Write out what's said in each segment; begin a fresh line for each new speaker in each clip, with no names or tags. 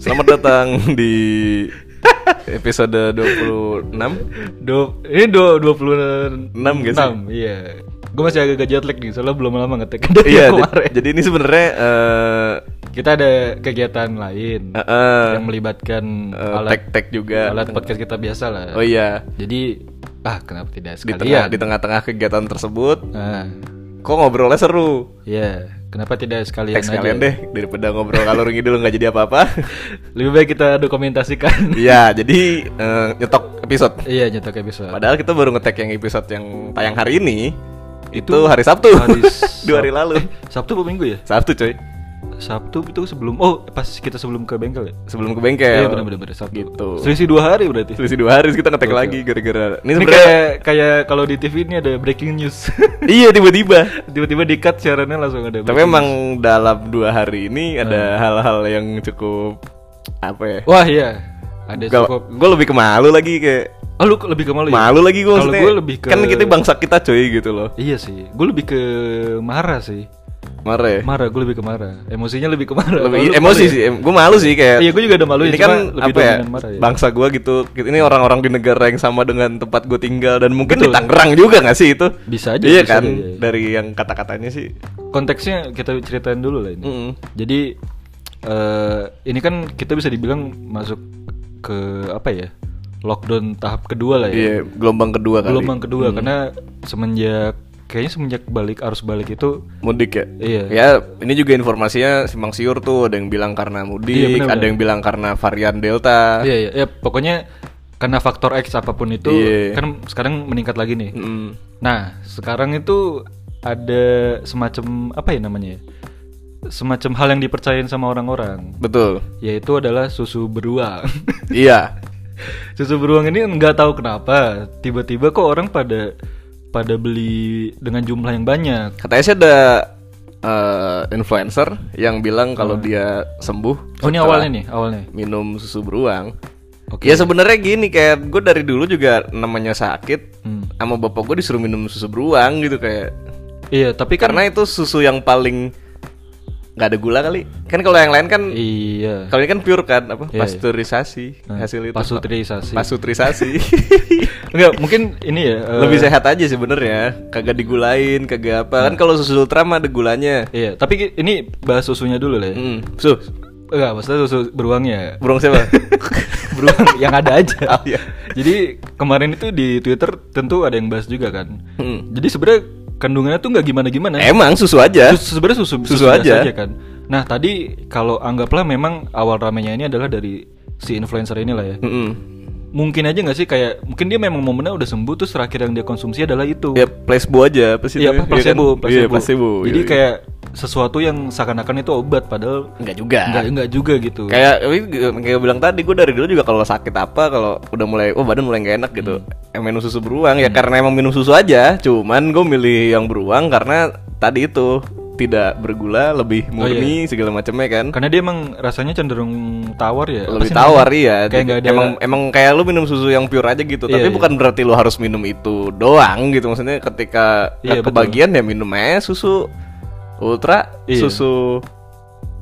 Selamat datang di episode 26
Do, ini do, 26
Enam nggak sih?
iya Gue masih agak-agak jet lag nih soalnya belum lama ngetek dari
Iya,
kemarin
j- jadi ini sebenarnya eh,
Kita ada kegiatan lain
eh, eh,
Yang melibatkan
eh,
alat,
tag-tag juga
alat podcast kita biasa lah
Oh iya
Jadi, ah kenapa tidak
di tengah
sekalian
di tengah-tengah kegiatan tersebut
Nah,
kok ngobrolnya seru
iya Kenapa tidak sekalian
teks
aja ya.
kalian deh daripada ngobrol kalor ngidul nggak jadi apa-apa
Lebih baik kita dokumentasikan
Iya jadi eh, nyetok episode
Iya nyetok episode
padahal kita baru ngetek yang episode yang tayang hari ini itu, hari Sabtu
hari
dua hari lalu
Sabtu apa minggu ya?
Sabtu coy
Sabtu itu sebelum, oh pas kita sebelum ke bengkel ya?
sebelum ke bengkel
Iya benar-benar Sabtu.
Gitu.
Selisih dua hari berarti.
Selisih dua hari terus kita ngetek
Oke.
lagi gara-gara ini
Ini
sebenarnya
kayak kayak kalau di TV ini ada breaking news.
iya tiba-tiba.
Tiba-tiba di cut siarannya langsung
Tapi
ada. breaking
emang dalam dua hari ini
Hmm.
ada hal-hal yang cukup apa ya?
news. wah iya ada cukup.
Gue lebih ke malu lagi kayak
Oh lu ke- lebih ke malu ya?
malu lagi gue
Kalau gue lebih ke
kan kita bangsa kita coy gitu loh
Iya sih, gue lebih ke marah sih.
marah ya
Marah, gue lebih ke marah. Emosinya lebih ke marah. Kalau
lebih
lu
emosi
malu ya?
sih gue malu sih kayak
Iya, gue juga ada malunya,
ini
cuma
kan
lebih
apa ya,
dominan marah ya.
bangsa gue gitu ini orang-orang di negara yang sama dengan tempat gue tinggal dan mungkin di
Betul.
Tangerang juga gak sih itu
Bisa aja,
iya
bisa
kan
aja, iya.
dari yang kata-katanya sih
Konteksnya kita ceritain dulu lah ini.
Mm-mm.
Jadi eh ini kan kita bisa dibilang masuk ke apa ya? Lockdown tahap kedua lah ya.
iya gelombang kedua kali
gelombang kedua
Hmm.
karena semenjak kayaknya semenjak balik arus balik itu
mudik ya
Iya.
ya ini juga informasinya simpang siur tuh ada yang bilang karena mudik
Iya, benar-benar.
ada yang bilang karena varian delta
iya iya ya, pokoknya karena faktor X apapun itu
Iya.
kan sekarang meningkat lagi nih.
Mm.
Nah, sekarang itu ada semacam apa ya namanya? ya? Semacam hal yang dipercayain sama orang-orang
betul
yaitu adalah susu beruang.
iya
susu beruang ini nggak tahu kenapa tiba-tiba kok orang pada pada beli dengan jumlah yang banyak.
katanya sih ada eh, influencer yang bilang kalau dia sembuh
Hmm. Oh, ini awalnya nih, awalnya.
minum susu beruang
Oke.
ya sebenarnya gini kayak gue dari dulu juga namanya sakit
Hmm.
sama bapak gue disuruh minum susu beruang gitu kayak
Iya, tapi kan
karena itu susu yang paling nggak ada gula kali kan kalau yang lain kan
iya.
Kalau ini kan pure kan apa
Iya, iya.
pasteurisasi
Nah,
hasil itu.
pasteurisasi.
Pasteurisasi.
Enggak, mungkin ini ya. eh,
Lebih sehat aja sebenarnya, kagak digulain, kagak apa.
Nah.
Kan kalau susu ultra mah ada gulanya.
Iya, tapi ki- ini bahas susunya dulu lah ya.
Hmm. Susu
Enggak, maksudnya susu beruangnya. ya.
burung siapa?
Beruang yang ada aja.
Oh, iya.
Jadi kemarin itu di Twitter tentu ada yang bahas juga kan.
Hmm.
Jadi sebenarnya kandungannya tuh nggak gimana-gimana.
Emang susu aja.
Sus- sebenarnya Nah. susu,
iya. Susu
biasa
aja.
kan. Nah, tadi kalau anggaplah memang awal ramenya ini adalah dari si influencer inilah ya.
Mm-mm.
Mungkin aja nggak sih kayak mungkin dia memang momennya udah sembuh terus terakhir yang dia konsumsi adalah itu.
Ya placebo aja apa sih?
Iya,
namanya?
apa
Iya kan?
placebo, placebo.
Iya, placebo.
Jadi
Iya.
kayak sesuatu yang seakan-akan itu obat padahal
enggak juga.
enggak enggak juga gitu.
Kayak tapi kayak bilang tadi gue dari dulu juga kalau sakit apa kalau udah mulai oh badan mulai nggak enak gitu
Hmm.
eh, minum susu beruang ya karena emang minum susu aja cuman gue milih yang beruang karena tadi itu tidak bergula lebih
Oh, iya.
murni segala macamnya kan
Karena dia emang rasanya cenderung tawar ya. Apa
lebih
sih
tawar
namanya?
iya
Kayak nggak ada
emang emang kayak lu minum susu yang pure aja gitu
Iya,
tapi
iya.
bukan berarti lu harus minum itu doang gitu maksudnya ketika
Iya, betul.
kebagian ya minum aja susu ultra
Iya.
susu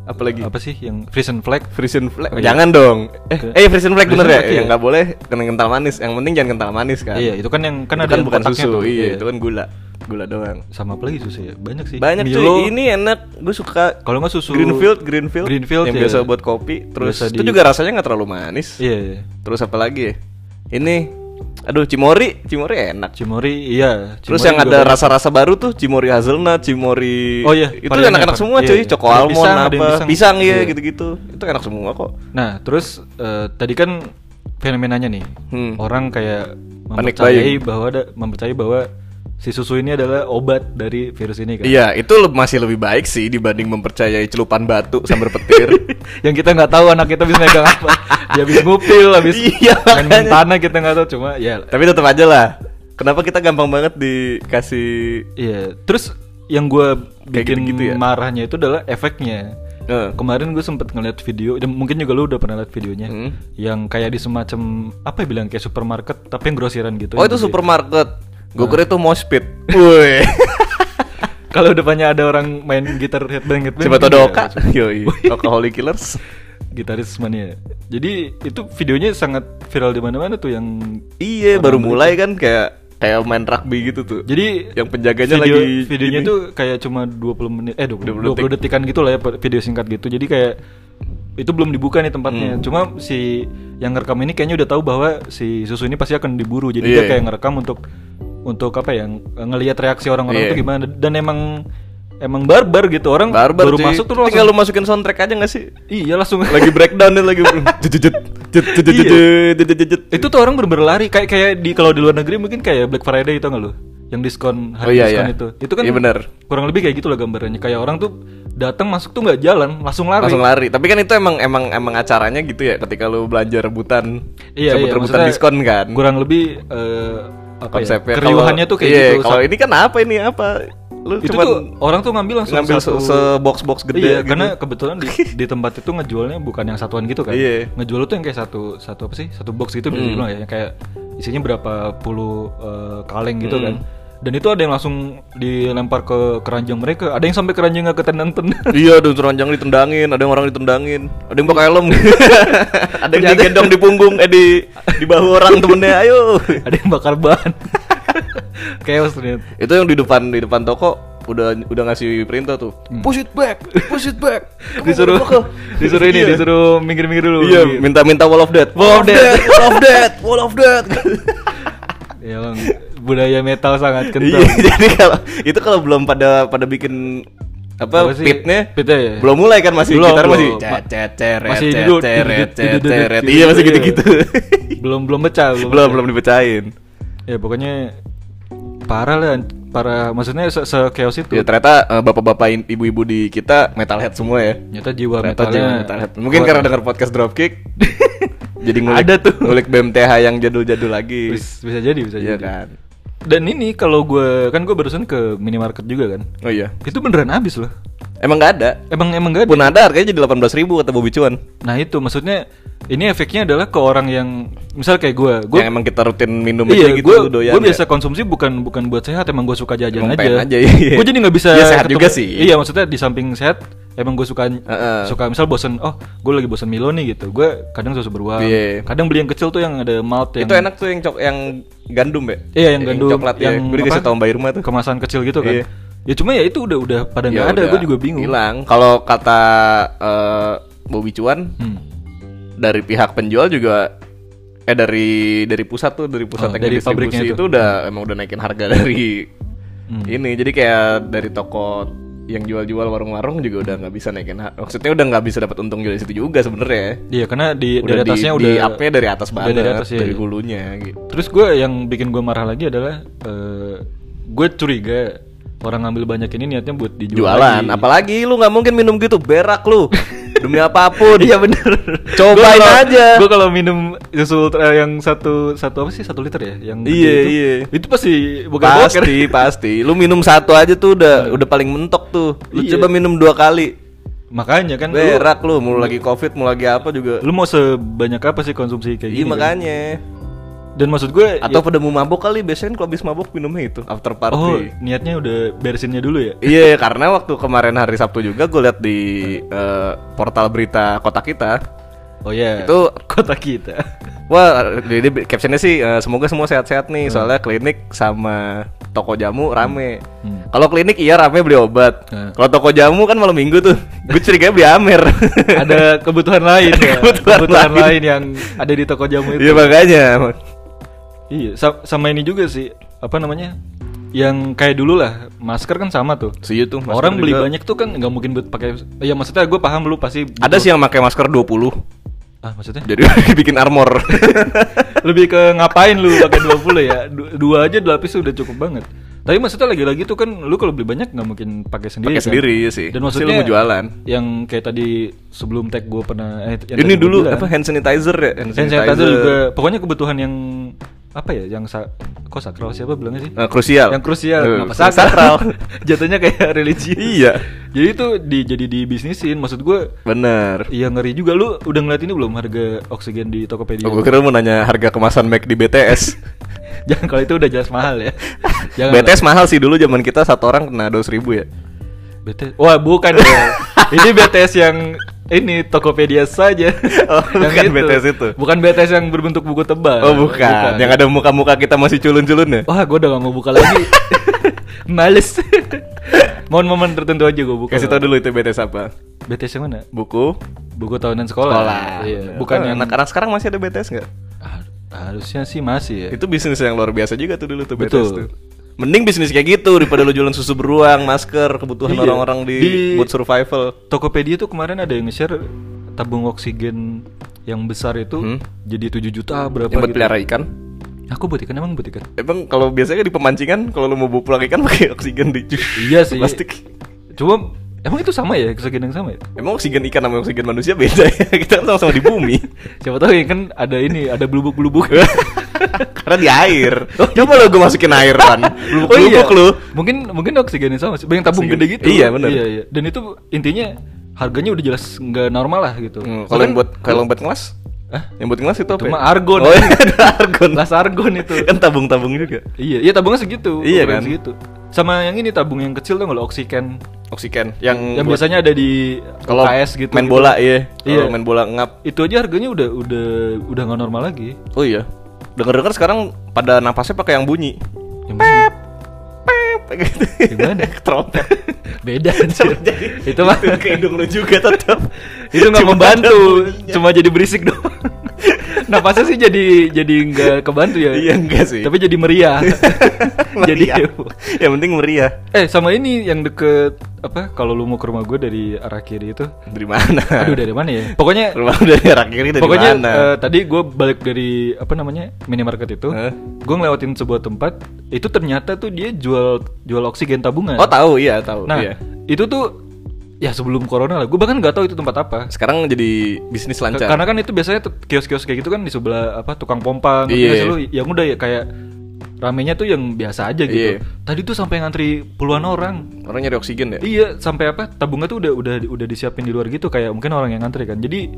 apalagi
apa sih yang Frisian flag?
Frisian flag. Jangan dong. Eh,
Oke.
eh Frisian flag bener
Oh,
ya?
iya. Frisian flag, iya.
Yang nggak boleh kena kental manis. Yang penting jangan kental manis kan.
Iya, itu kan yang kan
Itu
ada
kan
yang
bukan
kotaknya
susu.
tuh.
Iya, itu kan gula. Gula doang.
Sama apa lagi susu ya? Banyak sih.
Banyak
Milo,
cuy. Ini enak. Gue suka
Kalau nggak susu
Greenfield, Greenfield,
Greenfield,
yang
iya.
biasa buat kopi. Terus
Biasa
itu
di-
juga rasanya nggak terlalu manis.
Iya, iya.
Terus apa lagi? ya? Ini aduh Cimori, Cimori enak.
Cimori, iya.
Terus
Cimori
yang
juga
ada
banyak.
rasa-rasa baru tuh Cimori hazelnut, Cimori
Oh, iya,
itu
variannya
enak-enak
apa?
semua
Iya,
cuy,
iya.
coko
Ada
almond
pisang, ada yang
apa,
pisang.
pisang, iya
Iya.
gitu-gitu. Itu enak semua kok.
Nah, terus eh, tadi kan fenomenanya nih.
Hmm.
Orang kayak
Panic
mempercayai bahwa ada mempercayai bahwa si susu ini adalah obat dari virus ini kan.
Iya, itu le- masih lebih baik sih dibanding mempercayai celupan batu sambar petir.
yang kita nggak tahu anak kita bisa megang apa dia habis ngupil habis
Iya,
main main
makanya.
tanah kita nggak tahu cuma ya
Tapi tetap aja lah. Kenapa kita gampang banget dikasih
iya terus yang gue
Kayak
bikin
gitu-gitu ya?
marahnya itu adalah efeknya
eh,
kemarin gue sempet ngeliat video dan mungkin juga lu udah pernah lihat videonya
Hmm.
yang kayak di semacam apa ya bilang kayak supermarket tapi yang grosiran gitu
Oh, itu
Jadi,
supermarket. Gue kira itu moshpit. Woi.
kalau depannya ada orang main gitar headbang headbang
Coba
gitu
tau
ya,
doka. Yoi. Alcoholic killers.
gitaris mania. Jadi itu videonya sangat viral di mana-mana tuh yang
Iya, baru mulai kan kayak kayak main rugby gitu tuh.
jadi
Yang penjaganya
video-
lagi
videonya
gini.
tuh kayak cuma 20 menit eh 20,
20 detik.
20 detikan gitu lah ya per- video singkat gitu. Jadi kayak itu belum dibuka nih tempatnya.
Hmm.
Cuma si yang ngerekam ini kayaknya udah tahu bahwa si susu ini pasti akan diburu. Jadi
Iya,
dia kayak
iya.
ngerekam untuk untuk apa ya ngelihat reaksi
Iya.
orang-orang tuh gimana dan emang emang barbar gitu orang
Barbar
baru
cuy.
masuk tuh
Tinggal lu
langsung
masukin soundtrack aja gak sih?
iya langsung
Lagi breakdown dan lagi jejet jejet jejet
Iya.
jejet jejet jejet.
itu tuh orang bener-bener lari kayak kayak di kalau di luar negeri mungkin kayak Black Friday itu nggak lo yang diskon
Oh,
hari
iya,
diskon
iya.
itu itu kan
Iya, bener.
kurang lebih kayak gitu loh gambarannya kayak orang tuh datang masuk tuh nggak jalan langsung lari
langsung lari. Tapi kan itu emang emang emang acaranya gitu ya ketika lu belanja rebutan.
iya iya
rebutan
maksudnya
diskon kan.
kurang lebih eh, apa ya,
Konsepnya kalau-
keriuhannya tuh kayak
iya,
gitu
Kalau ini kan apa ini apa? Lu
itu
cuman
tuh orang tuh ngambil langsung
ngambil se,
satu-
box box gede
iya,
gitu.
karena kebetulan di, di tempat itu ngejualnya bukan yang satuan gitu kan.
Iya.
Ngejual tuh yang kayak satu satu apa sih? Satu box gitu bisa
Hmm.
dibilang ya, yang kayak isinya berapa puluh eh, kaleng gitu
Hmm.
kan. Dan itu ada yang langsung dilempar ke keranjang mereka, ada yang sampai keranjangnya ketendang-tendang.
Iya, ada yang teranjang ditendangin, ada yang orang ditendangin, ada yang pakai helm, ada yang digendong di punggung, eh di di bahu orang temennya, ayo.
ada yang bakar ban. Chaos ternyata.
Itu yang di depan di depan toko udah udah ngasih perintah tuh. Push it back, push it back. Kamu
Hmm. Disuruh
baru bakal-
disuruh ini,
Iya.
disuruh minggir-minggir dulu.
Iya,
Gitu.
minta-minta wall of death.
Wall of death.
wall of death, wall of death.
Ya, Bang. budaya metal sangat kental.
Iya, jadi kalau itu kalau belum pada pada bikin apa,
Apa sih?
pitnya,
Pitnya, iya.
belum mulai kan masih
Belum,
gitar
belum.
masih
Ma-
cet, cet, ceret,
masih
cet,
duduk,
ceret,
duduk,
cet,
duduk, duduk,
ceret.
duduk,
iya masih
iya.
gitu-gitu
belum belum pecah,
belum belum dipecahin
ya pokoknya parah lah para maksudnya se, chaos itu
ya ternyata eh, bapak-bapak in- ibu-ibu di kita metalhead semua ya
ternyata jiwa
ternyata
metalnya
jiwa metalhead mungkin karena denger podcast dropkick jadi ngulik,
Ada tuh.
ngulik BMTH yang jadul-jadul lagi
bisa, bisa jadi bisa
iya
jadi
kan
dan ini kalau gue kan gue barusan ke minimarket juga kan
oh iya
itu beneran habis loh
emang nggak ada
emang emang gak ada
pun ada harganya jadi 18.000 ribu kata Bobby Cuan
nah itu maksudnya ini efeknya adalah ke orang yang misal kayak gue gue
yang emang kita rutin minum
iya
aja gitu
gue
doyan ya.
biasa konsumsi bukan bukan buat sehat emang gue suka jajan
Emang pengen aja,
aja,
iya.
gue jadi nggak bisa
Iya, sehat juga sih.
iya maksudnya di samping sehat emang gue suka
Heeh.
suka misal bosen oh gue lagi bosen Milo nih gitu gue kadang susu beruang
Iya.
kadang beli yang kecil tuh yang ada malt yang
itu enak tuh yang cok yang gandum ya
iya yang gandum
coklat yang ya. gue dikasih
apa,
tau mbak Irma tuh
kemasan kecil gitu kan
Iya.
ya cuma ya itu udah udah pada
Ya
nggak ada
udah,
gue juga bingung
hilang kalau kata eh, Bobby Cuan
Hmm.
dari pihak penjual juga eh dari dari pusat tuh dari pusat
Oh,
yang
dari
distribusi
pabriknya
itu.
itu.
udah emang udah naikin harga dari
Hmm.
ini jadi kayak dari toko yang jual-jual warung-warung juga udah nggak bisa naikin har- maksudnya udah nggak bisa dapat untung dari situ juga sebenarnya
iya karena di
udah
dari
di,
atasnya
di
udah
up-nya dari atas
udah
banget
dari atas, iya, iya.
hulunya gitu
Terus gue yang bikin gue marah lagi adalah eh, gue curiga orang ngambil banyak ini niatnya buat dijual
jualan
lagi.
apalagi lu nggak mungkin minum gitu berak lu demi apapun
Iya bener.
Cobain aja.
Gue kalau minum susu ultra yang satu satu apa sih satu liter ya? Yang gede
Iya,
itu,
iya.
Itu pasti bukan boker.
pasti pasti lu minum satu aja tuh udah udah paling mentok tuh lu
Iya.
coba minum dua kali
Makanya kan lu,
berak lu mau lagi covid mau lagi apa juga
lu mau sebanyak apa sih konsumsi kayak
iya
gini? kan? Iya.
makanya
Dan maksud ya, gue
atau pada mau mabok kali biasanya kan kalau habis mabok minumnya itu after
ya, oh
party
niatnya udah beresinnya dulu ya?
Iya, karena waktu kemarin hari Sabtu juga gue lihat di eh, portal berita kota kita
Oh ya.
Itu-
kota kita.
Wah, jadi bi- captionnya sih eh, semoga semua sehat-sehat nih. Soalnya klinik sama toko jamu rame.
Hmm.
Kalau klinik iya rame beli obat.
Hmm.
Kalau toko jamu kan malam minggu tuh. Gue curiga beli Amer.
ada kebutuhan lain ya.
Kebutuhan
kebutuhan
lain.
lain. yang ada di toko jamu
Iya
itu.
makanya.
Iya, sa- sama ini juga sih. Apa namanya? Yang kayak dulu lah, masker kan sama tuh.
See you tuh. masker
Orang beli
juga.
banyak tuh kan nggak mungkin buat pakai. Ya maksudnya gue paham lu pasti. butuh-
Ada sih yang pakai masker 20.
Ah maksudnya?
Jadi bikin armor.
Lebih ke ngapain lu pakai 20 ya? Du- Dua aja dua lapis udah cukup banget. Tapi maksudnya lagi-lagi tuh kan lu kalau beli banyak nggak mungkin pakai sendiri.
pakai
kan?
sendiri iya sih.
Dan
Pasti
maksudnya
lu mau jualan.
Yang kayak tadi sebelum tag gue pernah. eh, yang
Ini
tadi gua
dulu
bilang.
apa hand sanitizer ya?
Hand sanitizer juga. Pokoknya kebutuhan yang apa ya? Yang sa kok sakral siapa bilangnya sih?
Nah, krusial.
yang krusial
Eh,
kenapa sakral jatuhnya kayak religi
Iya.
jadi itu di jadi di bisnisin maksud gue
Bener.
ya ngeri juga lu udah ngeliat ini belum harga oksigen di Tokopedia
Oh, gue kira mau nanya harga kemasan Mac di BTS.
jangan kalau itu udah jelas mahal ya jangan
BTS mahal sih dulu zaman kita satu orang kena 2000 ribu ya.
lah. BTS wah bukan ya. ini BTS yang ini Tokopedia saja.
Oh, bukan BTS itu.
Bukan BTS yang berbentuk buku tebal.
Oh bukan. yang ada muka-muka kita masih culun-culun ya?
Eh, Wah, gue udah gak mau buka lagi. Males. Momen-momen tertentu aja gue buka.
Kasih tau dulu itu BTS apa?
BTS yang mana?
Buku,
Buku tahunan sekolah.
sekolah.
Iya, bukan
Oh,
yang
anak-anak sekarang masih ada BTS nggak?
Ah, harusnya sih masih ya.
Itu bisnis yang luar biasa juga tuh dulu tuh BTS
Betul.
tuh. Mending bisnis kayak gitu daripada lu jualan susu beruang, masker, kebutuhan
Iya.
orang-orang di,
Di-
buat survival.
Tokopedia tuh kemarin ada yang nge-share tabung oksigen yang besar itu
Hmm.
jadi 7 juta berapa
Yang buat
gitu.
pelihara ikan.
Aku buat ikan emang buat ikan.
Emang kalau biasanya di pemancingan kalau lu mau bawa pulang ikan pakai oksigen di
Iya sih.
plastik.
Cuma emang itu sama ya oksigen yang sama ya?
Emang oksigen ikan sama oksigen manusia beda ya? Kita kan sama-sama di bumi.
Siapa tahu ya kan ada ini, ada belubuk-belubuk.
Karena di air.
Oh,
Coba
gitu.
lo gue masukin air kan. Lubuk
iya.
lubuk lu.
Mungkin mungkin oksigennya sama sih. Banyak tabung
Oksigen.
gede gitu.
Iya, benar.
Iya, iya. Dan itu intinya harganya udah jelas nggak normal lah gitu.
Hmm, kalau yang buat kalau yang buat ngelas?
Hah?
Yang buat ngelas itu apa?
Cuma
ya?
argon.
Oh, iya, ada argon.
Las argon itu.
Kan tabung-tabung juga.
Iya, iya tabungnya segitu.
Iya,
ukuran
kan?
Segitu. Sama yang ini tabung yang kecil tuh kalau oksigen.
Oksigen yang
Yang
Hmm, buat-
biasanya ada di
kalau
UKS gitu.
main
gitu.
bola iya. Kalau
Iya.
main bola ngap.
Itu aja harganya udah udah udah nggak normal lagi.
Oh iya. Dengar-dengar sekarang pada napasnya pakai yang bunyi.
Yang mana?
Pep gitu.
Gimana?
Trompet.
Beda anjir.
Jadi,
itu mah
ke hidung lu juga tetap.
itu nggak
Cuma
membantu, cuma jadi berisik doang. Napasnya sih jadi jadi nggak kebantu ya.
Iya, enggak sih.
Tapi jadi meriah. jadi
Meriah. yang penting meriah.
eh sama ini yang deket apa kalau lu mau ke rumah gue dari arah kiri itu
Dari mana?
aduh dari mana ya pokoknya
Rumah lu dari arah kiri dari
Pokoknya
mana?
eh, tadi gue balik dari apa namanya minimarket itu,
Hah?
gue ngelewatin sebuah tempat, itu ternyata tuh dia jual jual oksigen tabungan.
oh tahu iya tahu.
nah
iya.
itu tuh ya sebelum corona lah, gue bahkan nggak tahu itu tempat apa.
Sekarang jadi bisnis lancar.
Karena kan itu biasanya tuh kios-kios kayak gitu kan di sebelah apa tukang pompa, ngerti
Iya.
nggak sih lu? yang udah ya kayak ramenya tuh yang biasa aja
Iya.
gitu. Tadi tuh sampai ngantri puluhan orang.
Orang nyari oksigen ya?
Iya, sampai apa? Tabungnya tuh udah udah udah disiapin di luar gitu kayak mungkin orang yang ngantri kan. Jadi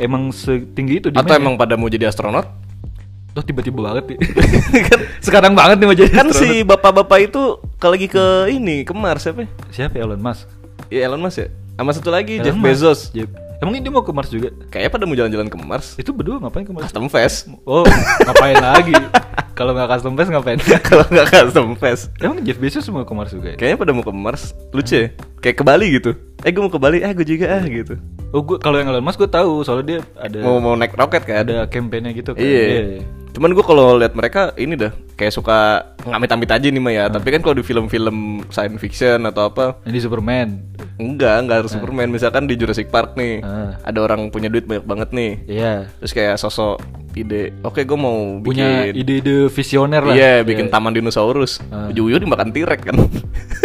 emang setinggi itu
Atau
demand-nya.
emang pada mau jadi astronot?
Tuh tiba-tiba banget nih. Sekarang banget nih mau jadi
kan
astronot.
si bapak-bapak itu kalau lagi ke ini ke Mars siapa? ya?
siapa ya, Elon Musk?
Ya Elon Musk ya. Sama satu lagi
Elon
Jeff
Musk.
Bezos.
Jeff- Emang ini dia mau ke Mars juga?
Kayaknya pada mau jalan-jalan ke Mars.
Itu berdua ngapain ke Mars?
Custom fest.
Oh, ngapain lagi? Kalau nggak custom base ngapain?
kalau nggak custom fest.
Emang Jeff Bezos mau ke Mars juga ya?
Kayaknya pada mau ke Mars. Lucu ya? Kayak ke Bali gitu. Eh gue mau ke Bali, ah gue juga ah gitu.
Oh, gua kalau yang Elon Musk gue tahu soalnya dia ada
Mau mau naik roket kan?
ada kampanye gitu kan.
Iya. Cuman gue kalau lihat mereka ini dah kayak suka ngamit-amit aja nih mah ya. Tapi kan kalau di film-film science fiction atau apa
Ini Superman.
enggak enggak harus Superman misalkan di Jurassic Park nih.
Ah.
Ada orang punya duit banyak banget nih.
Iya.
Terus kayak sosok ide, oke gue mau bikin
Punya ide-ide visioner lah.
Iya, bikin taman dinosaurus.
Ah.
Ujung-ujung dimakan T-Rex kan.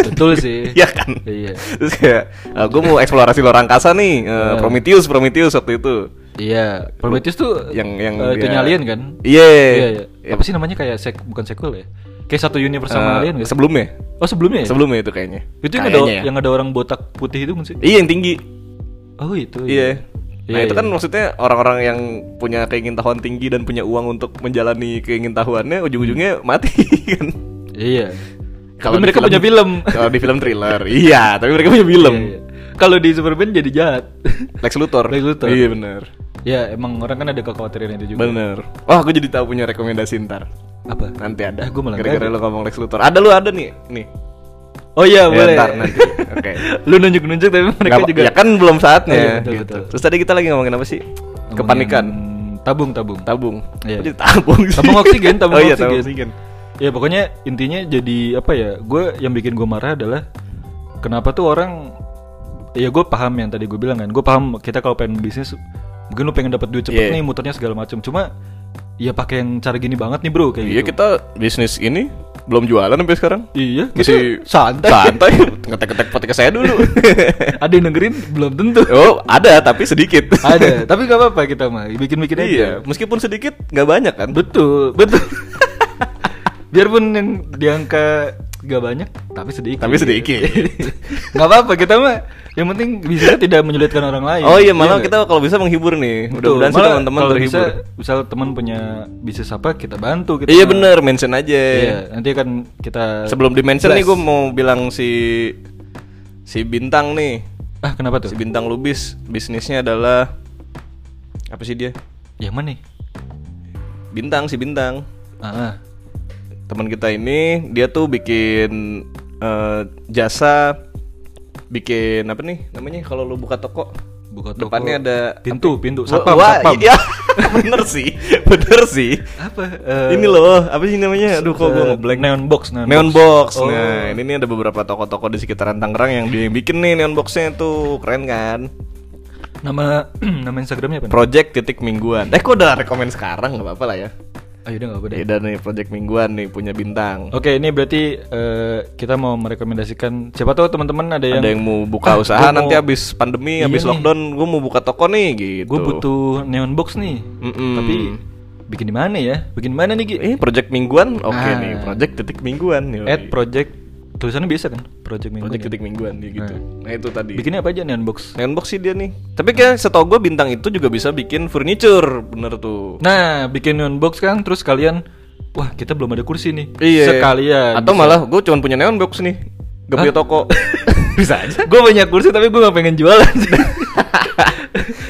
Betul sih.
Iya kan?
Iya.
Terus kayak gue mau eksplorasi luar angkasa nih, eh, Prometheus, Prometheus waktu itu.
Iya, Prometheus tuh
Yang- yang
eh, itu
dia-
nyalien kan?
Iya.
Iya, iya. Apa sih namanya kayak sek bukan sequel ya? Kayak satu universe
Eh,
sama alien nggak sih?
sebelumnya.
Oh, sebelumnya ya?
Sebelumnya itu kayaknya.
itu yang ada,
Kayaknya ya.
yang ada orang botak putih itu kan sih?
Iya, yang tinggi.
Oh, itu.
Iya. Nah,
Iya,
itu
iya.
kan maksudnya orang-orang yang punya keingintahuan tinggi dan punya uang untuk menjalani keingintahuannya ujung-ujungnya mati kan.
Iya. Tapi
di
Hmm. mereka punya film.
Kalau di film thriller. iya, tapi mereka punya film.
Iya, iya. Kalau di Superman jadi jahat.
Lex Luthor.
Lex Luthor.
Iya, benar.
ya, emang orang kan ada kekhawatiran itu juga.
Bener. Wah, gue jadi tahu punya rekomendasi ntar.
Apa?
Nanti ada.
Eh, gua malah
Gara-gara lo
nggak
ngomong Lex Luthor. Ada lu ada nih, nih.
Oh iya,
Ya,
boleh.
ntar, nanti. Oke.
Lu nunjuk-nunjuk tapi mereka
Nggak-
juga
Ya kan belum saatnya.
Oh, iya, betul,
gitu.
betul.
Terus tadi kita lagi ngomongin apa sih?
ngomongin
Kepanikan.
Tabung-tabung.
Tabung.
Iya.
Kok jadi tabung sih?
Tabung oksigen, tabung
oh, iya,
oksigen.
tabung oksigen.
Ya pokoknya intinya jadi apa ya? Gue yang bikin gue marah adalah kenapa tuh orang ya gue paham yang tadi gue bilang kan. Gue paham kita kalau pengen bisnis mungkin lu pengen dapat duit cepet
Iya.
nih muternya segala macam. Cuma ya pakai yang cara gini banget nih bro kayak
Iya,
gitu.
kita bisnis ini belum jualan sampai sekarang.
Iya, kita
Masih
santai.
Santai. Ngetek-ngetek podcast saya dulu.
Ada yang dengerin belum tentu.
oh, ada tapi sedikit.
Ada, tapi gak apa-apa kita mah bikin-bikin aja.
iya, meskipun sedikit nggak banyak kan?
Betul, betul. Biarpun yang di angka gak banyak, tapi sedikit.
Tapi sedikit.
gak apa-apa kita mah. Yang penting bisa tidak menyulitkan orang lain.
Oh iya, malah
Nah, nggak?
kita kalau bisa menghibur nih.
Betul.
Mudah-mudahan sih
Malah
teman-teman
kalau
terhibur.
Bisa, misal teman punya bisnis apa kita bantu. Kita
Iya bener, mention aja.
Iya, nanti kan kita
Sebelum di mention
blast.
nih gue mau bilang si si bintang nih.
ah kenapa tuh
Si bintang lubis bisnisnya adalah apa sih dia?
yang mana nih
Bintang si bintang.
ah, ah.
Teman kita ini dia tuh bikin eh, jasa bikin apa nih namanya kalau lu buka toko
buka toko
depannya ada
pintu pintu
Wah,
satpam
wah,
satpam
iya. bener sih, bener sih.
apa Eh,
ini loh, apa sih namanya? Aduh, kok gue
eh,
ngeblank.
neon box neon,
Neon box.
Oh.
Nah, ini nih ada beberapa toko-toko di sekitaran Tangerang yang dia yang bikin nih neon boxnya tuh keren kan?
nama nama instagramnya apa nih?
Project titik mingguan. Eh, kok udah rekomen sekarang nggak apa-apa lah ya.
ah yaudah nggak apa deh
Ya udah nih Project mingguan nih punya bintang.
Oke, ini berarti eh, kita mau merekomendasikan. Siapa tahu teman-teman ada yang,
Ada yang mau buka
Ah,
usaha
gua mau-
nanti habis pandemi,
Iya
habis
nih.
lockdown, gue mau buka toko nih gitu. Hmm.
gue butuh neon box nih,
Mm-mm.
tapi bikin di mana ya? Bikin di mana nih Gi?
Eh, Project mingguan, oke
Ah.
nih. Project titik mingguan. yoi.
At project tulisannya biasa kan? Project minggu.
Project titik mingguan dia gitu. Nah, itu tadi.
Bikinnya apa aja neon box?
Neon box sih dia nih. Tapi kayak setahu gue bintang itu juga bisa bikin furniture, bener tuh.
Nah, bikin neon box kan, terus kalian, wah kita belum ada kursi nih. Sekalian.
Iya, Atau malah gue cuman punya neon box nih, gak punya toko. bisa aja.
gue banyak kursi tapi gue gak pengen jualan.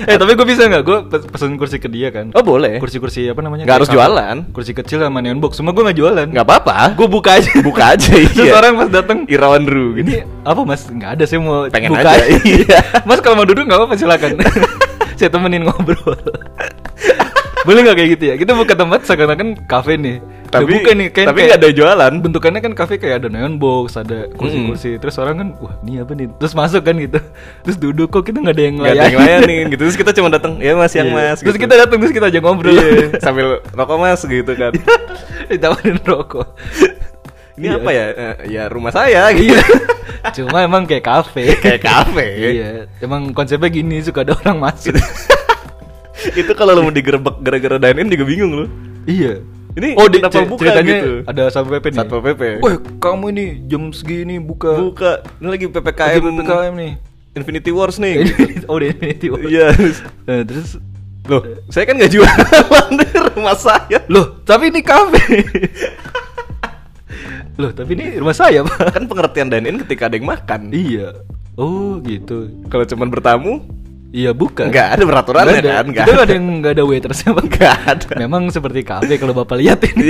eh tapi gue bisa nggak? Gue pesen kursi ke dia kan.
Oh boleh.
Kursi-kursi apa namanya?
Gak harus
Kayak apa?
jualan.
Kursi kecil sama neon box. Semua gue nggak jualan.
Gak apa-apa.
Gue buka aja.
Buka aja.
Terus
iya.
orang pas datang,
Irawan Ru gitu.
ini apa mas? Nggak ada, saya mau
Pengen
buka
aja, iya.
mas kalau mau duduk nggak apa-apa silakan. saya temenin ngobrol. Boleh nggak kayak gitu ya? Kita buka tempat seakan-akan kafe nih. Udah
Tapi
buka nih, kayak-
tapi
kayak-
nggak ada jualan.
bentukannya kan kafe kayak ada neon box, ada kursi-kursi. Terus orang kan, wah ini apa nih? Terus masuk kan gitu. Terus duduk kok kita nggak ada yang
Gak
layanin.
ada yang layanin gitu. Terus kita cuma datang, ya mas yang
Iya.
mas.
Terus
gitu.
kita datang terus kita aja ngobrol.
Iya, sambil rokok mas gitu kan.
Ditawarin rokok.
Ini
Iya.
apa ya? Eh, Ya rumah saya gitu.
Iya. Cuma emang kayak kafe.
Kayak kafe. Gitu.
Iya, emang konsepnya gini suka ada orang masuk.
itu kalau lu mau digerebek gara-gara dine in juga bingung lu.
iya.
Ini
oh, di,
kenapa
cer-
buka
ceritanya
gitu?
ada satpol pp nih.
Satpol PP.
Wah, kamu ini jam segini buka.
Buka. Ini lagi
lagi
PPKM,
PPKM nih.
Infinity Wars nih. gitu.
oh, di Infinity War.
Iya.
Nah, terus
Loh, saya kan nggak jualan di rumah saya.
Loh, tapi ini kafe. Loh, tapi ini rumah saya, Pak.
Kan pengertian dine in ketika ada yang makan.
Iya. Oh, gitu.
Kalau cuman bertamu,
Iya, bukan.
nggak ada peraturannya
Nggak ada.
kan? Nggak
Kita nggak
ada.
ada yang nggak ada waitersnya, Pak.
Nggak Iya. ada.
Memang seperti kafe kalau Bapak lihat ini.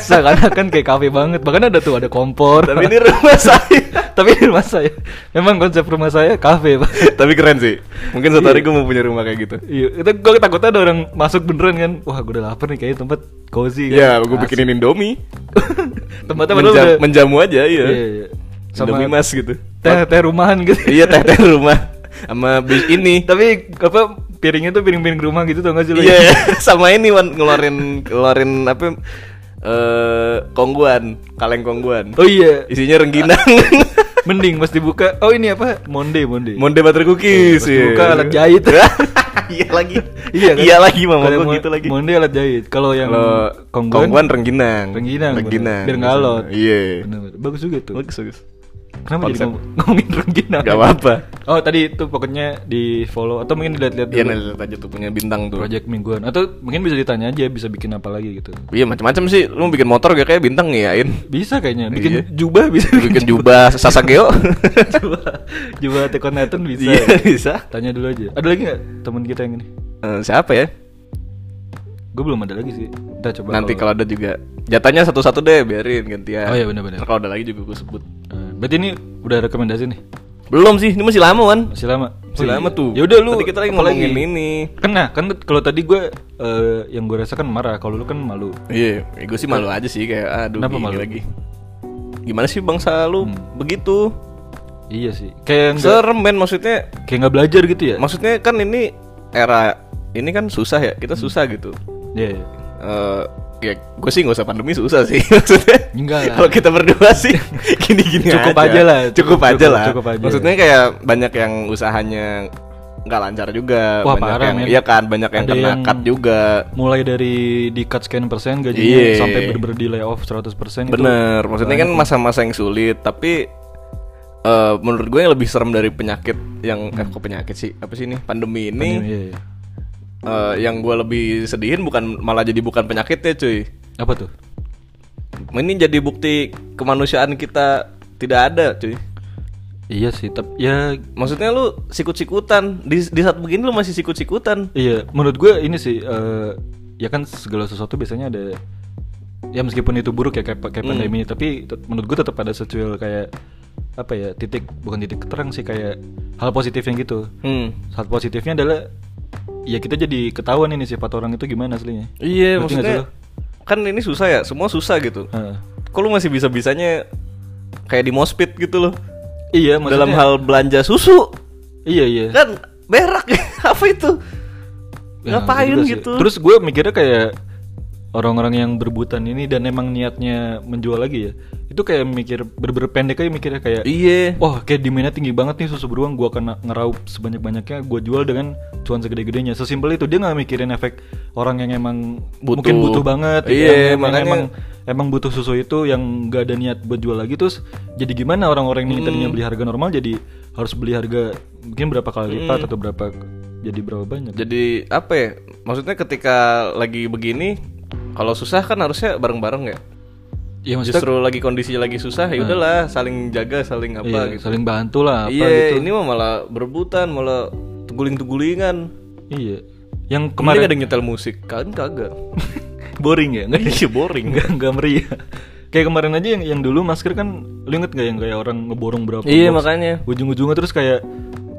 Seakan-akan kayak kafe banget. Bahkan ada tuh ada kompor.
Tapi ini rumah saya.
tapi ini rumah saya. Memang konsep rumah saya kafe, Pak.
Tapi keren sih. Mungkin suatu hari gue mau punya rumah kayak gitu.
Iya, itu gue takutnya ada orang masuk beneran kan. Wah, gue udah lapar nih kayaknya tempat cozy kan.
Ya, gue
Asik.
bikinin Indomie.
Tempatnya padahal
Menjam-
udah-
menjamu aja, iya.
Iya, iya. Sama
Indomie Mas gitu.
teh teh rumahan gitu.
iya, teh teh rumah sama bis ini.
Tapi apa piringnya tuh piring-piring rumah gitu tau gak sih lo?
Iya, sama ini Wan ngeluarin ngeluarin apa eh kongguan, kaleng kongguan.
Oh iya.
Isinya rengginang.
Mending pas dibuka. Oh ini apa? Monde, monde.
Monde butter cookies.
Pas dibuka alat jahit.
iya lagi.
iya, kan?
Iya lagi mama
Kalau
gua
mo-
gitu lagi.
Monde alat jahit. Kalau yang
Kalau
kongguan,
kongguan rengginang.
rengginang. bener.
Rengginang.
Biar ngalot.
Iya.
Bener-bener. Bagus juga tuh.
Bagus, bagus.
Kenapa jadi
konsep.
ngom- ngomongin rengginang?
Gak apa-apa.
Oh tadi itu pokoknya di follow atau mungkin dilihat-lihat
Iya,
dulu.
nah, lihat aja tuh punya bintang tuh.
Project mingguan atau mungkin bisa ditanya aja bisa bikin apa lagi gitu.
Iya macam-macam sih. Lu bikin motor gak kayak bintang ngiyain.
Bisa kayaknya bikin
Iya.
jubah bisa
Bikin jubah sasageo.
jubah jubah Tekonatun bisa. ya.
Iya bisa.
Tanya dulu aja. Ada lagi nggak teman kita yang ini?
Eh, siapa ya?
Gue belum ada lagi sih. Kita coba.
Nanti kalau ada juga jatahnya satu-satu deh biarin gantian.
Oh iya, benar-benar.
Ntar Kalau ada lagi juga gue sebut.
Eh, berarti ini udah rekomendasi nih.
Belum sih, ini masih lama kan?
Masih lama.
Masih lama tuh.
Ya udah lu.
Tadi kita lagi
apa
ngomongin ini.
Kena kan t- kalau tadi gue eh, yang gue rasakan marah kalau lu kan malu.
Iya, ya gue sih malu aja sih kayak aduh
Kenapa
gini
malu? Hmm.
lagi. Gimana sih bangsa lu begitu?
Iya sih. Kayak nggak
Serem men maksudnya.
kayak nggak belajar gitu ya.
Maksudnya kan ini era ini kan susah ya.
Hmm.
Kita susah gitu.
Iya. iya.
Eh ya gue sih nggak usah pandemi susah sih maksudnya
Enggak lah.
kalau kita berdua sih gini-gini
Cukup aja lah,
cukup,
cukup-
aja
cukup-
lah
cukup aja.
maksudnya kayak banyak yang usahanya nggak lancar juga
Wah,
banyak
parah,
yang
men.
iya kan banyak yang
Ada
kena
yang-
cut juga
Mulai dari di cut sekian persen gajinya
Iya.
sampai bener-bener di layoff 100 persen gitu. itu.
bener maksudnya kan masa-masa yang sulit tapi eh, menurut gue yang lebih serem dari penyakit yang eh, kok penyakit sih apa sih ini pandemi ini
Iya, iya.
eh, yang gue lebih sedihin bukan malah jadi bukan penyakitnya cuy
Apa tuh?
ini jadi bukti kemanusiaan kita tidak ada cuy
Iya sih, tapi ya
Maksudnya lu sikut-sikutan di, di saat begini lu masih sikut-sikutan.
Iya, menurut gue ini sih eh, ya kan segala sesuatu biasanya ada ya meskipun itu buruk ya kayak kayak
Hmm.
pandemi ini, tapi tet- menurut gue tetap ada secuil kayak apa ya titik bukan titik terang sih kayak hal positifnya gitu.
Hmm.
Hal positifnya adalah ya kita jadi ketahuan ini sifat orang itu gimana aslinya.
Iya,
Ngerti nggak
maksudnya
sih
kan ini susah ya, semua susah gitu.
lo? Heeh.
Kok lu masih bisa-bisanya kayak di mospit gitu loh.
Iya, maksudnya,
Dalam hal belanja susu
iya iya.
kan berak apa itu?
Ya,
Ngapain
juga sih.
gitu?
Terus gue mikirnya kayak orang-orang yang berbutan ini dan emang niatnya menjual lagi ya. Itu kayak mikir berber pendek aja mikirnya kayak
iya.
Wah kayak demandnya tinggi banget nih susu beruang Gua akan ngeraup sebanyak-banyaknya Gua jual dengan cuan segede-gedenya Sesimpel itu Dia nggak mikirin efek orang yang emang
Butuh.
Mungkin butuh banget gitu ya,
Iya,
yang- yang
makanya-
emang, emang butuh susu itu Yang nggak ada niat buat jual lagi Terus jadi gimana orang-orang ini tadinya
Hmm.
beli harga normal Jadi harus beli harga Mungkin berapa kali lipat
Hmm.
Atau berapa Jadi berapa banyak
Jadi apa ya? Maksudnya ketika lagi begini kalau susah kan harusnya bareng-bareng ya.
Iya maksudnya Ah.
Justru lagi kondisinya lagi susah ya udahlah saling jaga, saling apa
iya,
gitu.
Saling bantu lah apa
Iya,
gitu
ini mah malah berebutan, malah teguling-tegulingan.
Iya Yang
Kemarin
kemarin
ada yang nyetel musik, kan kagak.
Boring ya Nggak-
Iya boring.
nggak nggak meriah kayak kemarin aja yang yang dulu masker kan lu inget nggak yang kayak orang ngeborong berapa
Iya makanya.
ujung-ujungnya terus kayak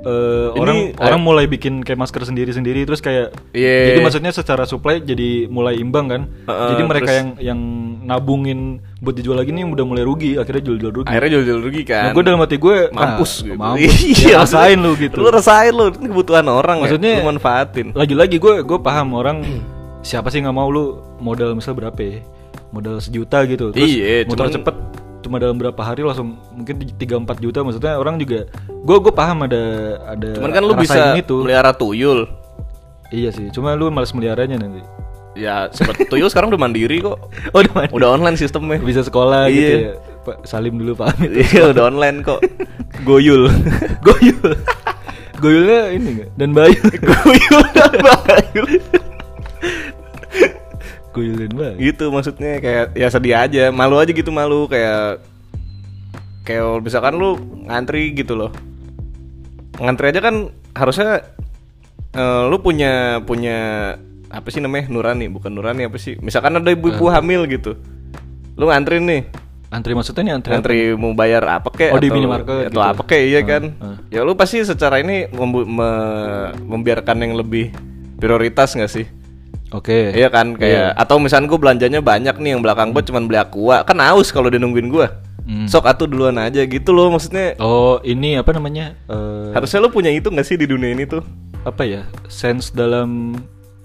eh,
Ini
orang
ada-
orang mulai bikin kayak masker sendiri-sendiri terus kayak
Iya.
jadi maksudnya secara supply jadi mulai imbang kan
Heeh,
jadi mereka
terus-
yang yang nabungin buat dijual lagi nih udah mulai rugi akhirnya jual-jual rugi
Akhirnya jual-jual rugi kan.
nah, gue dalam hati gue
mampus gitu.
mampus Ya, rasain lu gitu
Lu rasain lu ini kebutuhan orang
Maksudnya-
ya. Lu manfaatin.
lagi-lagi gue gue paham orang siapa sih nggak mau lu modal misal berapa ya? modal sejuta gitu terus
Iya,
motor
cuman-
cepet cuma dalam berapa hari langsung mungkin 3-4 juta maksudnya orang juga gue gue paham ada ada
Cuman kan lu
rasa
bisa
ini tuh.
melihara tuyul.
iya sih cuma lu males meliharanya nanti
Ya seperti tuyul sekarang udah mandiri kok.
oh udah mati.
Udah online sistemnya.
bisa
Iya.
sekolah gitu ya pak salim dulu pamit
Iya udah online kok. Goyul.
goyul goyulnya ini nggak dan bayu
Goyul dan bayul.
goyul dan bayu
gitu maksudnya kayak ya sedih aja malu aja gitu malu kayak kayak misalkan lu ngantri gitu loh ngantri aja kan harusnya eh, lu punya punya apa sih namanya nurani bukan nurani apa sih misalkan ada ibu-ibu hamil gitu lu ngantri nih
antri maksudnya nih antri
ngantri mau bayar apa kek
Oh, di
atau-
minimarket
atau
gitu.
apa kek iya
Hmm,
kan
hmm.
ya lu pasti secara ini membu- me- membiarkan yang lebih prioritas nggak sih
oke
Iya kan kayak atau misalnya gue belanjanya banyak nih yang belakang gue cuman beli aqua kan aus kalau dia nungguin gue
Hmm.
sok atuh duluan aja gitu loh maksudnya
oh ini apa namanya Eh,
harusnya lo punya itu gak sih di dunia ini tuh
apa ya sense dalam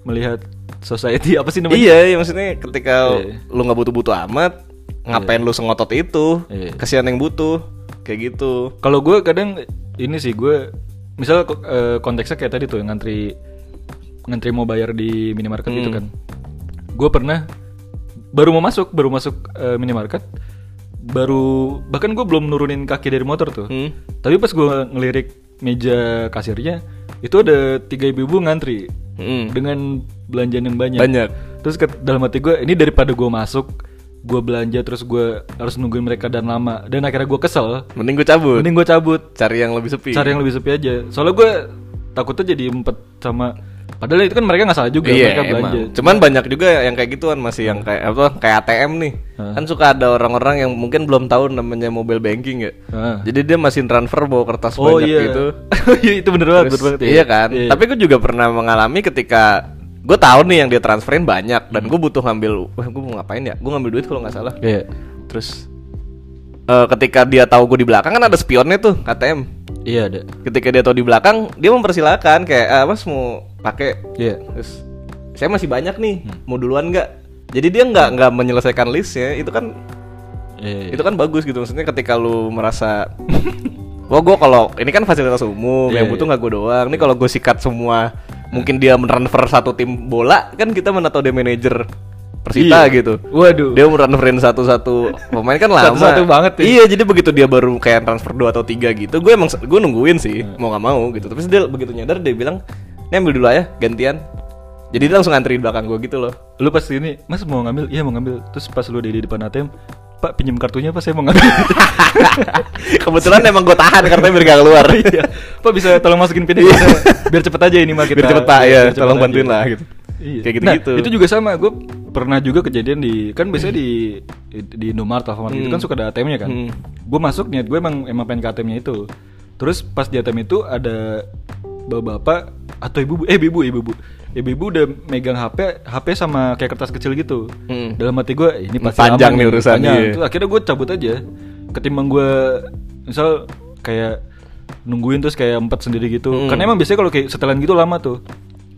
melihat society apa sih namanya?
iya iya maksudnya ketika
Iya.
lu nggak butuh-butuh amat ngapain lu sengotot itu
Iya.
kasihan yang butuh kayak gitu
Kalau gue kadang ini sih gue misal ko- eh, konteksnya kayak tadi tuh ngantri ngantri mau bayar di minimarket
Hmm.
gitu kan. Gue pernah baru mau masuk baru masuk eh, minimarket baru bahkan gue belum nurunin kaki dari motor tuh.
Hmm.
Tapi pas gue ngelirik meja kasirnya itu ada tiga ibu-ibu ngantri
Mm.
dengan belanjaan yang banyak.
banyak
Terus ke, dalam hati gue ini daripada gue masuk, gue belanja terus gue harus nungguin mereka dan lama. Dan akhirnya gue kesel.
mending gue cabut
Mending gue cabut,
cari yang lebih sepi
cari yang lebih sepi aja. Soalnya gue takutnya jadi empat sama. Padahal itu kan mereka nggak salah juga, mereka
Iya emang.
belanja.
Cuman banyak juga yang kayak gituan masih yang kayak apa kayak ATM nih. Kan suka ada orang-orang yang mungkin belum tahu namanya mobile banking ya.
Heeh.
Jadi dia masih transfer bawa kertas
Oh
banyak
iya,
gitu.
Iya, itu bener banget,
Terus,
bener banget. ya.
iya kan. Tapi gue juga pernah mengalami ketika gue tahu nih yang dia transferin banyak dan gue butuh ngambil. Wah gue mau ngapain ya? Gue ngambil duit kalau nggak salah.
Iya.
Terus eh, ketika dia tahu gue di belakang kan ada spionnya tuh ATM.
Iya ada.
Ketika dia tahu di belakang dia mempersilahkan kayak ah, mas mau pakai
Iya.
Terus saya masih banyak nih,
Hmm.
mau duluan nggak? Jadi dia nggak nggak menyelesaikan listnya, itu kan
Iya. iya.
itu kan bagus gitu maksudnya ketika lu merasa wah gue kalau ini kan fasilitas umum
Iya,
yang butuh nggak gue doang. Ini kalau gue sikat semua, mungkin dia mentransfer satu tim bola kan kita mana tahu dia manajer Persita
Iya.
gitu.
Waduh.
Dia mentransferin satu-satu pemain kan lama.
Satu-satu banget ya.
Iya, jadi begitu dia baru kayak transfer dua atau tiga gitu, gue emang gue nungguin sih,
Hmm.
mau nggak mau gitu. Tapi dia begitu nyadar dia bilang, "Ini ambil dulu aja, gantian." Jadi dia langsung antri di belakang gue gitu loh.
Lu pas ini, Mas mau ngambil? Iya mau ngambil. Terus pas lu di di depan ATM, Pak pinjam kartunya Pak saya mau ngambil.
Kebetulan emang gue tahan karena biar gak keluar.
Iya. Pak bisa tolong masukin pinnya ke saya? biar cepet aja ini mah
Iya.
kita. iya,
biar cepet pak
biar
ya,
cepet
tolong
aja.
bantuin lah gitu.
Iya.
Kayak
Nah,
gitu-gitu.
itu juga sama. Gue pernah juga kejadian di kan biasanya di di Indomaret Alfamart gitu kan suka ada ATM-nya kan.
Hmm.
Gue masuk niat gue emang emang pengen ke ATM-nya itu. Terus pas di ATM itu ada bapak-bapak atau ibu eh ibu ibu ibu ibu udah megang HP HP sama kayak kertas kecil gitu.
Hmm.
Dalam hati gue ini pasti
Panjang
lama
nih urusannya. Iya.
Panjang. Terus akhirnya gue cabut aja. Ketimbang gue misal kayak nungguin terus kayak empat sendiri gitu.
Hmm.
Karena emang biasanya kalau kayak setelan gitu lama tuh.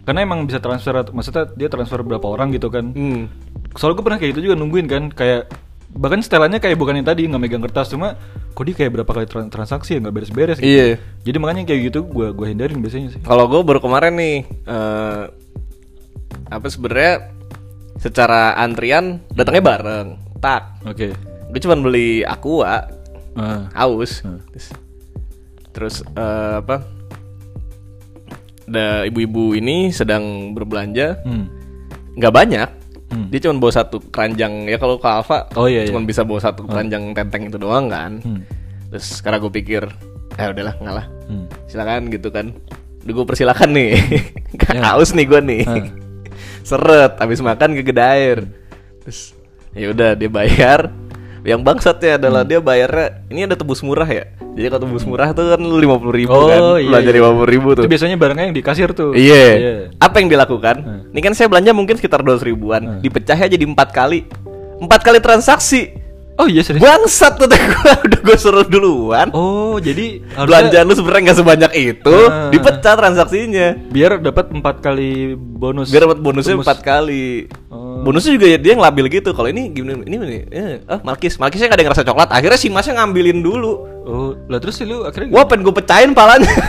Karena emang bisa transfer maksudnya dia transfer berapa orang gitu kan.
Hmm.
Soalnya gue pernah kayak gitu juga nungguin kan kayak bahkan setelannya kayak bukan yang tadi nggak megang kertas cuma kok dia kayak berapa kali tran- transaksi ya nggak beres-beres gitu.
Iya.
Jadi makanya kayak gitu gue gua hindarin biasanya sih.
Kalau gue baru kemarin nih eh apa sebenarnya secara antrian datangnya bareng. Tak.
Oke.
Gue cuman beli aqua
Ah.
haus.
Hmm.
Terus, terus eh, apa? Ada ibu-ibu ini sedang berbelanja
Hmm.
nggak banyak.
Hmm.
Dia cuma bawa satu keranjang ya kalau ke Alfa
Oh, iya,
cuma
iya.
bisa bawa satu keranjang tenteng itu doang kan.
Hmm.
Terus sekarang gue pikir, eh udahlah ngalah.
Hmm.
Silakan gitu kan. Udah gue persilakan nih. Gak
Ya.
haus nih gue nih.
Ah.
Seret habis makan ke Gedair. Terus ya udah dia bayar. Yang bangsatnya adalah dia bayarnya ini ada tebus murah ya. Jadi kalau tebus murah tuh kan lu 50 ribu kan.
Oh, iya,
Belanja
iya.
50 ribu tuh.
Itu biasanya barangnya yang di kasir tuh.
Iya. Apa yang dilakukan? Ini kan saya belanja mungkin sekitar 200 ribuan. Dipecahnya jadi empat kali. Empat kali transaksi.
Oh iya serius.
Bangsat tuh gue udah gue suruh duluan.
Oh jadi harusnya-
Belanjaan lu sebenarnya nggak sebanyak itu,
Ah.
dipecah transaksinya.
biar dapat empat kali bonus
Biar dapat bonusnya
Bonus.
empat kali.
Oh.
Bonusnya juga ya dia ngelabil gitu. Kalau ini gimana? Ini ini, eh, ah, Malkis, Malkisnya nggak ada yang ngerasa coklat. Akhirnya si Masnya ngambilin dulu.
oh lah terus sih lu akhirnya
Wah, pengen gue pecahin palanya.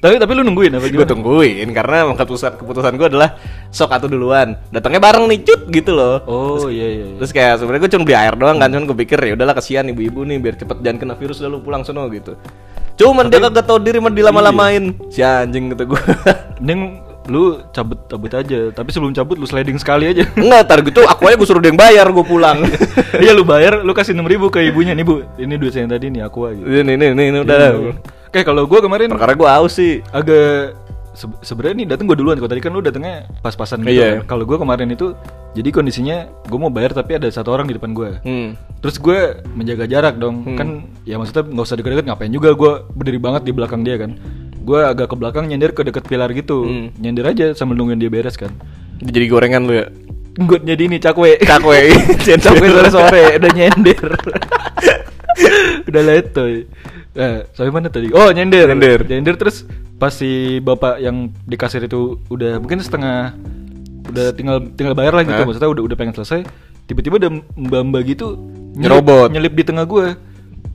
tapi tapi lu nungguin apa
gue
gimana
tungguin karena keputusan keputusan gue adalah sok atau duluan. Datangnya bareng nih, cut gitu loh.
oh iya iya iya.
Terus kayak sebenarnya gue cuma beli air doang kan, cuman gue pikir ya udahlah kasihan ibu-ibu nih biar cepet jangan kena virus lalu pulang sono gitu. Cuman dia kagak tau diri mah dilama-lamain. Si anjing gitu gue.
mending lu cabut cabut aja tapi sebelum cabut lu sliding sekali aja
Enggak, tar gitu aku aja gue suruh dia yang bayar gue pulang.
iya lu bayar lu kasih enam ribu ke ibunya nih bu ini duit saya yang tadi nih aku aja Iya.
ini ini ini, ini udah.
oke kalau gua kemarin
Hmm. Perkara gue haus sih.
agak se- sebenarnya nih datang gue duluan kalau tadi kan lu datangnya pas-pasan gitu
Iya.
kan. kalau gua kemarin itu jadi kondisinya gue mau bayar tapi ada satu orang di depan gua
Hmm.
Terus gue menjaga jarak dong Kan ya maksudnya nggak usah deket-deket ngapain juga Gue berdiri banget di belakang dia kan Gue agak ke belakang nyender ke deket pilar gitu
Hmm.
Nyender aja sambil nungguin dia beres kan
Jadi gorengan lu ya.
Gue jadi ini cakwe
Cakwe.
Cakwe sore-sore udah nyender Udah letoy Eh, sampai mana tadi? Oh nyender
Nyender.
terus pas si bapak yang di kasir itu udah mungkin setengah Udah tinggal tinggal bayar lah gitu
Hah?
Maksudnya udah, udah pengen selesai Tiba-tiba ada mbak-mbak gitu
Nyerobot.
nyelip di tengah gue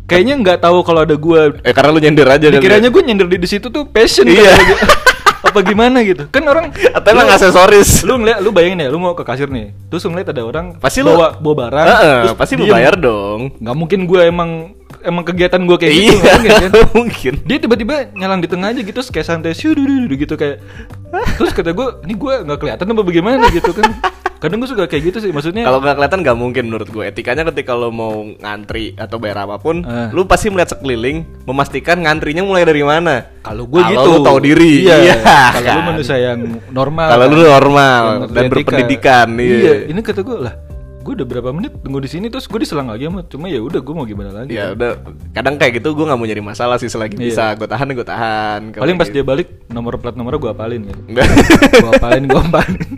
kayaknya nggak tahu kalau ada gue
Eh karena lu nyender aja kali
dikiranya
ya.
gue nyender di, di situ tuh passion
Iya.
kali gua. apa gimana gitu kan orang
atau emang aksesoris.
lu ngeliat lu bayangin ya lu mau ke kasir nih terus lu ngeliat ada orang
Pasti lu
bawa bawa barang
Heeh,
terus
pasti lu
diem.
bayar dong.
nggak mungkin gue emang emang kegiatan gue kayak gitu nggak
Iya,
mungkin, kan?
mungkin.
dia tiba-tiba nyalang di tengah aja gitu terus kayak santai syudududu gitu kayak terus kata gue ini gue nggak kelihatan apa bagaimana gitu kan kadang gue suka kayak gitu sih maksudnya
Kalau nggak kelihatan nggak mungkin menurut gue. Etikanya ketika lo mau ngantri atau bayar apapun,
Eh.
lu pasti melihat sekeliling, memastikan ngantrinya mulai dari mana.
Kalau gue gitu.
Kalau lu tahu diri.
Iya.
kan?
Kalau lu manusia yang normal.
Kalau
kan?
lu normal
Yang
dan berpendidikan, iya.
Iya. Ini kata gue lah. Gue udah berapa menit tunggu di sini terus gue diserang lagi sama cuma ya udah gue mau gimana lagi.
Ya udah, kadang kayak gitu gue nggak mau nyari masalah sih selagi
Gitu. Iya.
bisa gue tahan gue tahan. Kalau
Paling pas
gitu.
dia balik nomor plat nomornya gue apalin gitu.
Nggak.
gue apalin, gue apalin.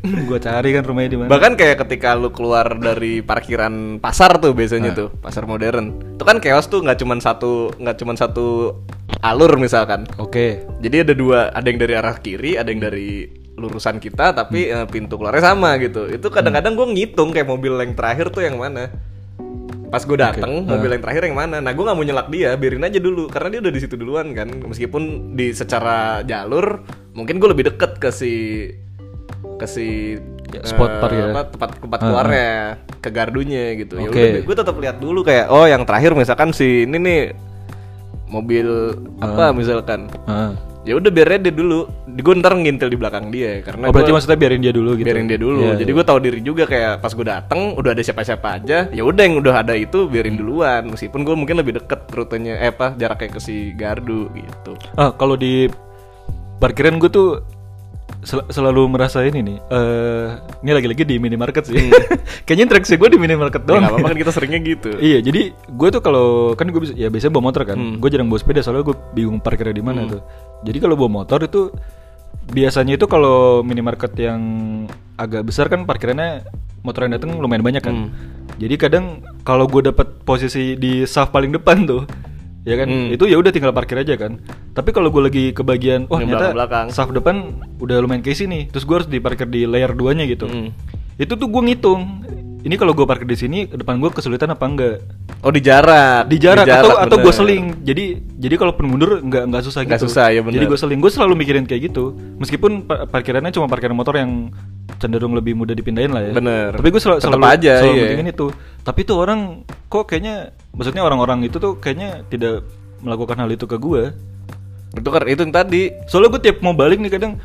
gue cari kan rumahnya di mana.
Bahkan kayak ketika lu keluar dari parkiran pasar tuh
Ah.
biasanya tuh, pasar modern. Itu kan chaos tuh nggak cuman satu nggak cuman satu alur misalkan.
Oke.
Jadi ada dua, ada yang dari arah kiri, ada yang dari lurusan kita, tapi eh,
Hmm.
pintu keluarnya sama gitu. Itu kadang-kadang gue ngitung kayak mobil yang terakhir tuh yang mana. Pas gue
Hmm.
dateng, mobil yang terakhir yang mana? Nah gue nggak mau nyelak dia, biarin aja dulu, karena dia udah di situ duluan kan. Meskipun di secara jalur, mungkin gue lebih deket ke si ke si eh,
Ya, spot parkir.
apa, tempat tempat keluarnya, ke gardunya gitu.
Oke.
gue tetap lihat dulu kayak, oh yang terakhir misalkan si ini nih mobil apa misalkan
Ah.
ya udah biarin dia dulu gue ntar ngintil di belakang dia karena
Oh berarti
Nah, gua
maksudnya biarin dia dulu gitu.
biarin dia dulu
Iya,
jadi
iya.
gue tahu diri juga kayak pas gue dateng udah ada siapa-siapa aja ya udah yang udah ada itu biarin duluan meskipun gue mungkin lebih deket rutenya eh apa jaraknya ke si gardu gitu
Ah, kalau di parkiran gue tuh sel- selalu merasa ini nih. eh ini lagi-lagi di minimarket
Hmm.
sih. Kayaknya interaksi gue di minimarket
ya,
doang.
nggak apa-apa kan kita seringnya gitu
iya, jadi gue tuh kalau kan gue bisa ya biasanya bawa motor kan. Gue jarang bawa sepeda soalnya gue bingung parkirnya di mana tuh. Jadi kalau bawa motor itu biasanya itu kalau minimarket yang agak besar kan parkirannya motor yang datang lumayan banyak kan. Jadi kadang kalau gue dapat posisi di saf paling depan tuh ya kan
Hmm.
itu ya udah tinggal parkir aja kan tapi kalau gue lagi ke bagian wah
Yang
Oh, ternyata
belakang-belakang.
saf depan udah lumayan keisi nih terus gue harus diparkir di layer 2 nya gitu
Hmm.
itu tuh gue ngitung ini kalau gue parkir di sini depan gue kesulitan apa enggak
oh di jarak
di jarak atau atau
bener.
gue seling jadi jadi kalau mundur nggak nggak susah
Nggak
gitu
susah, ya bener.
jadi gue seling gue selalu mikirin kayak gitu meskipun pa- parkirannya cuma parkiran motor yang cenderung lebih mudah dipindahin lah ya
Bener.
tapi gue selalu
Tetep
selalu,
aja,
selalu
iya.
mikirin itu tapi tuh orang kok kayaknya maksudnya orang-orang itu tuh kayaknya tidak melakukan hal itu ke gue
itu kan itu yang tadi
soalnya gue tiap mau balik nih kadang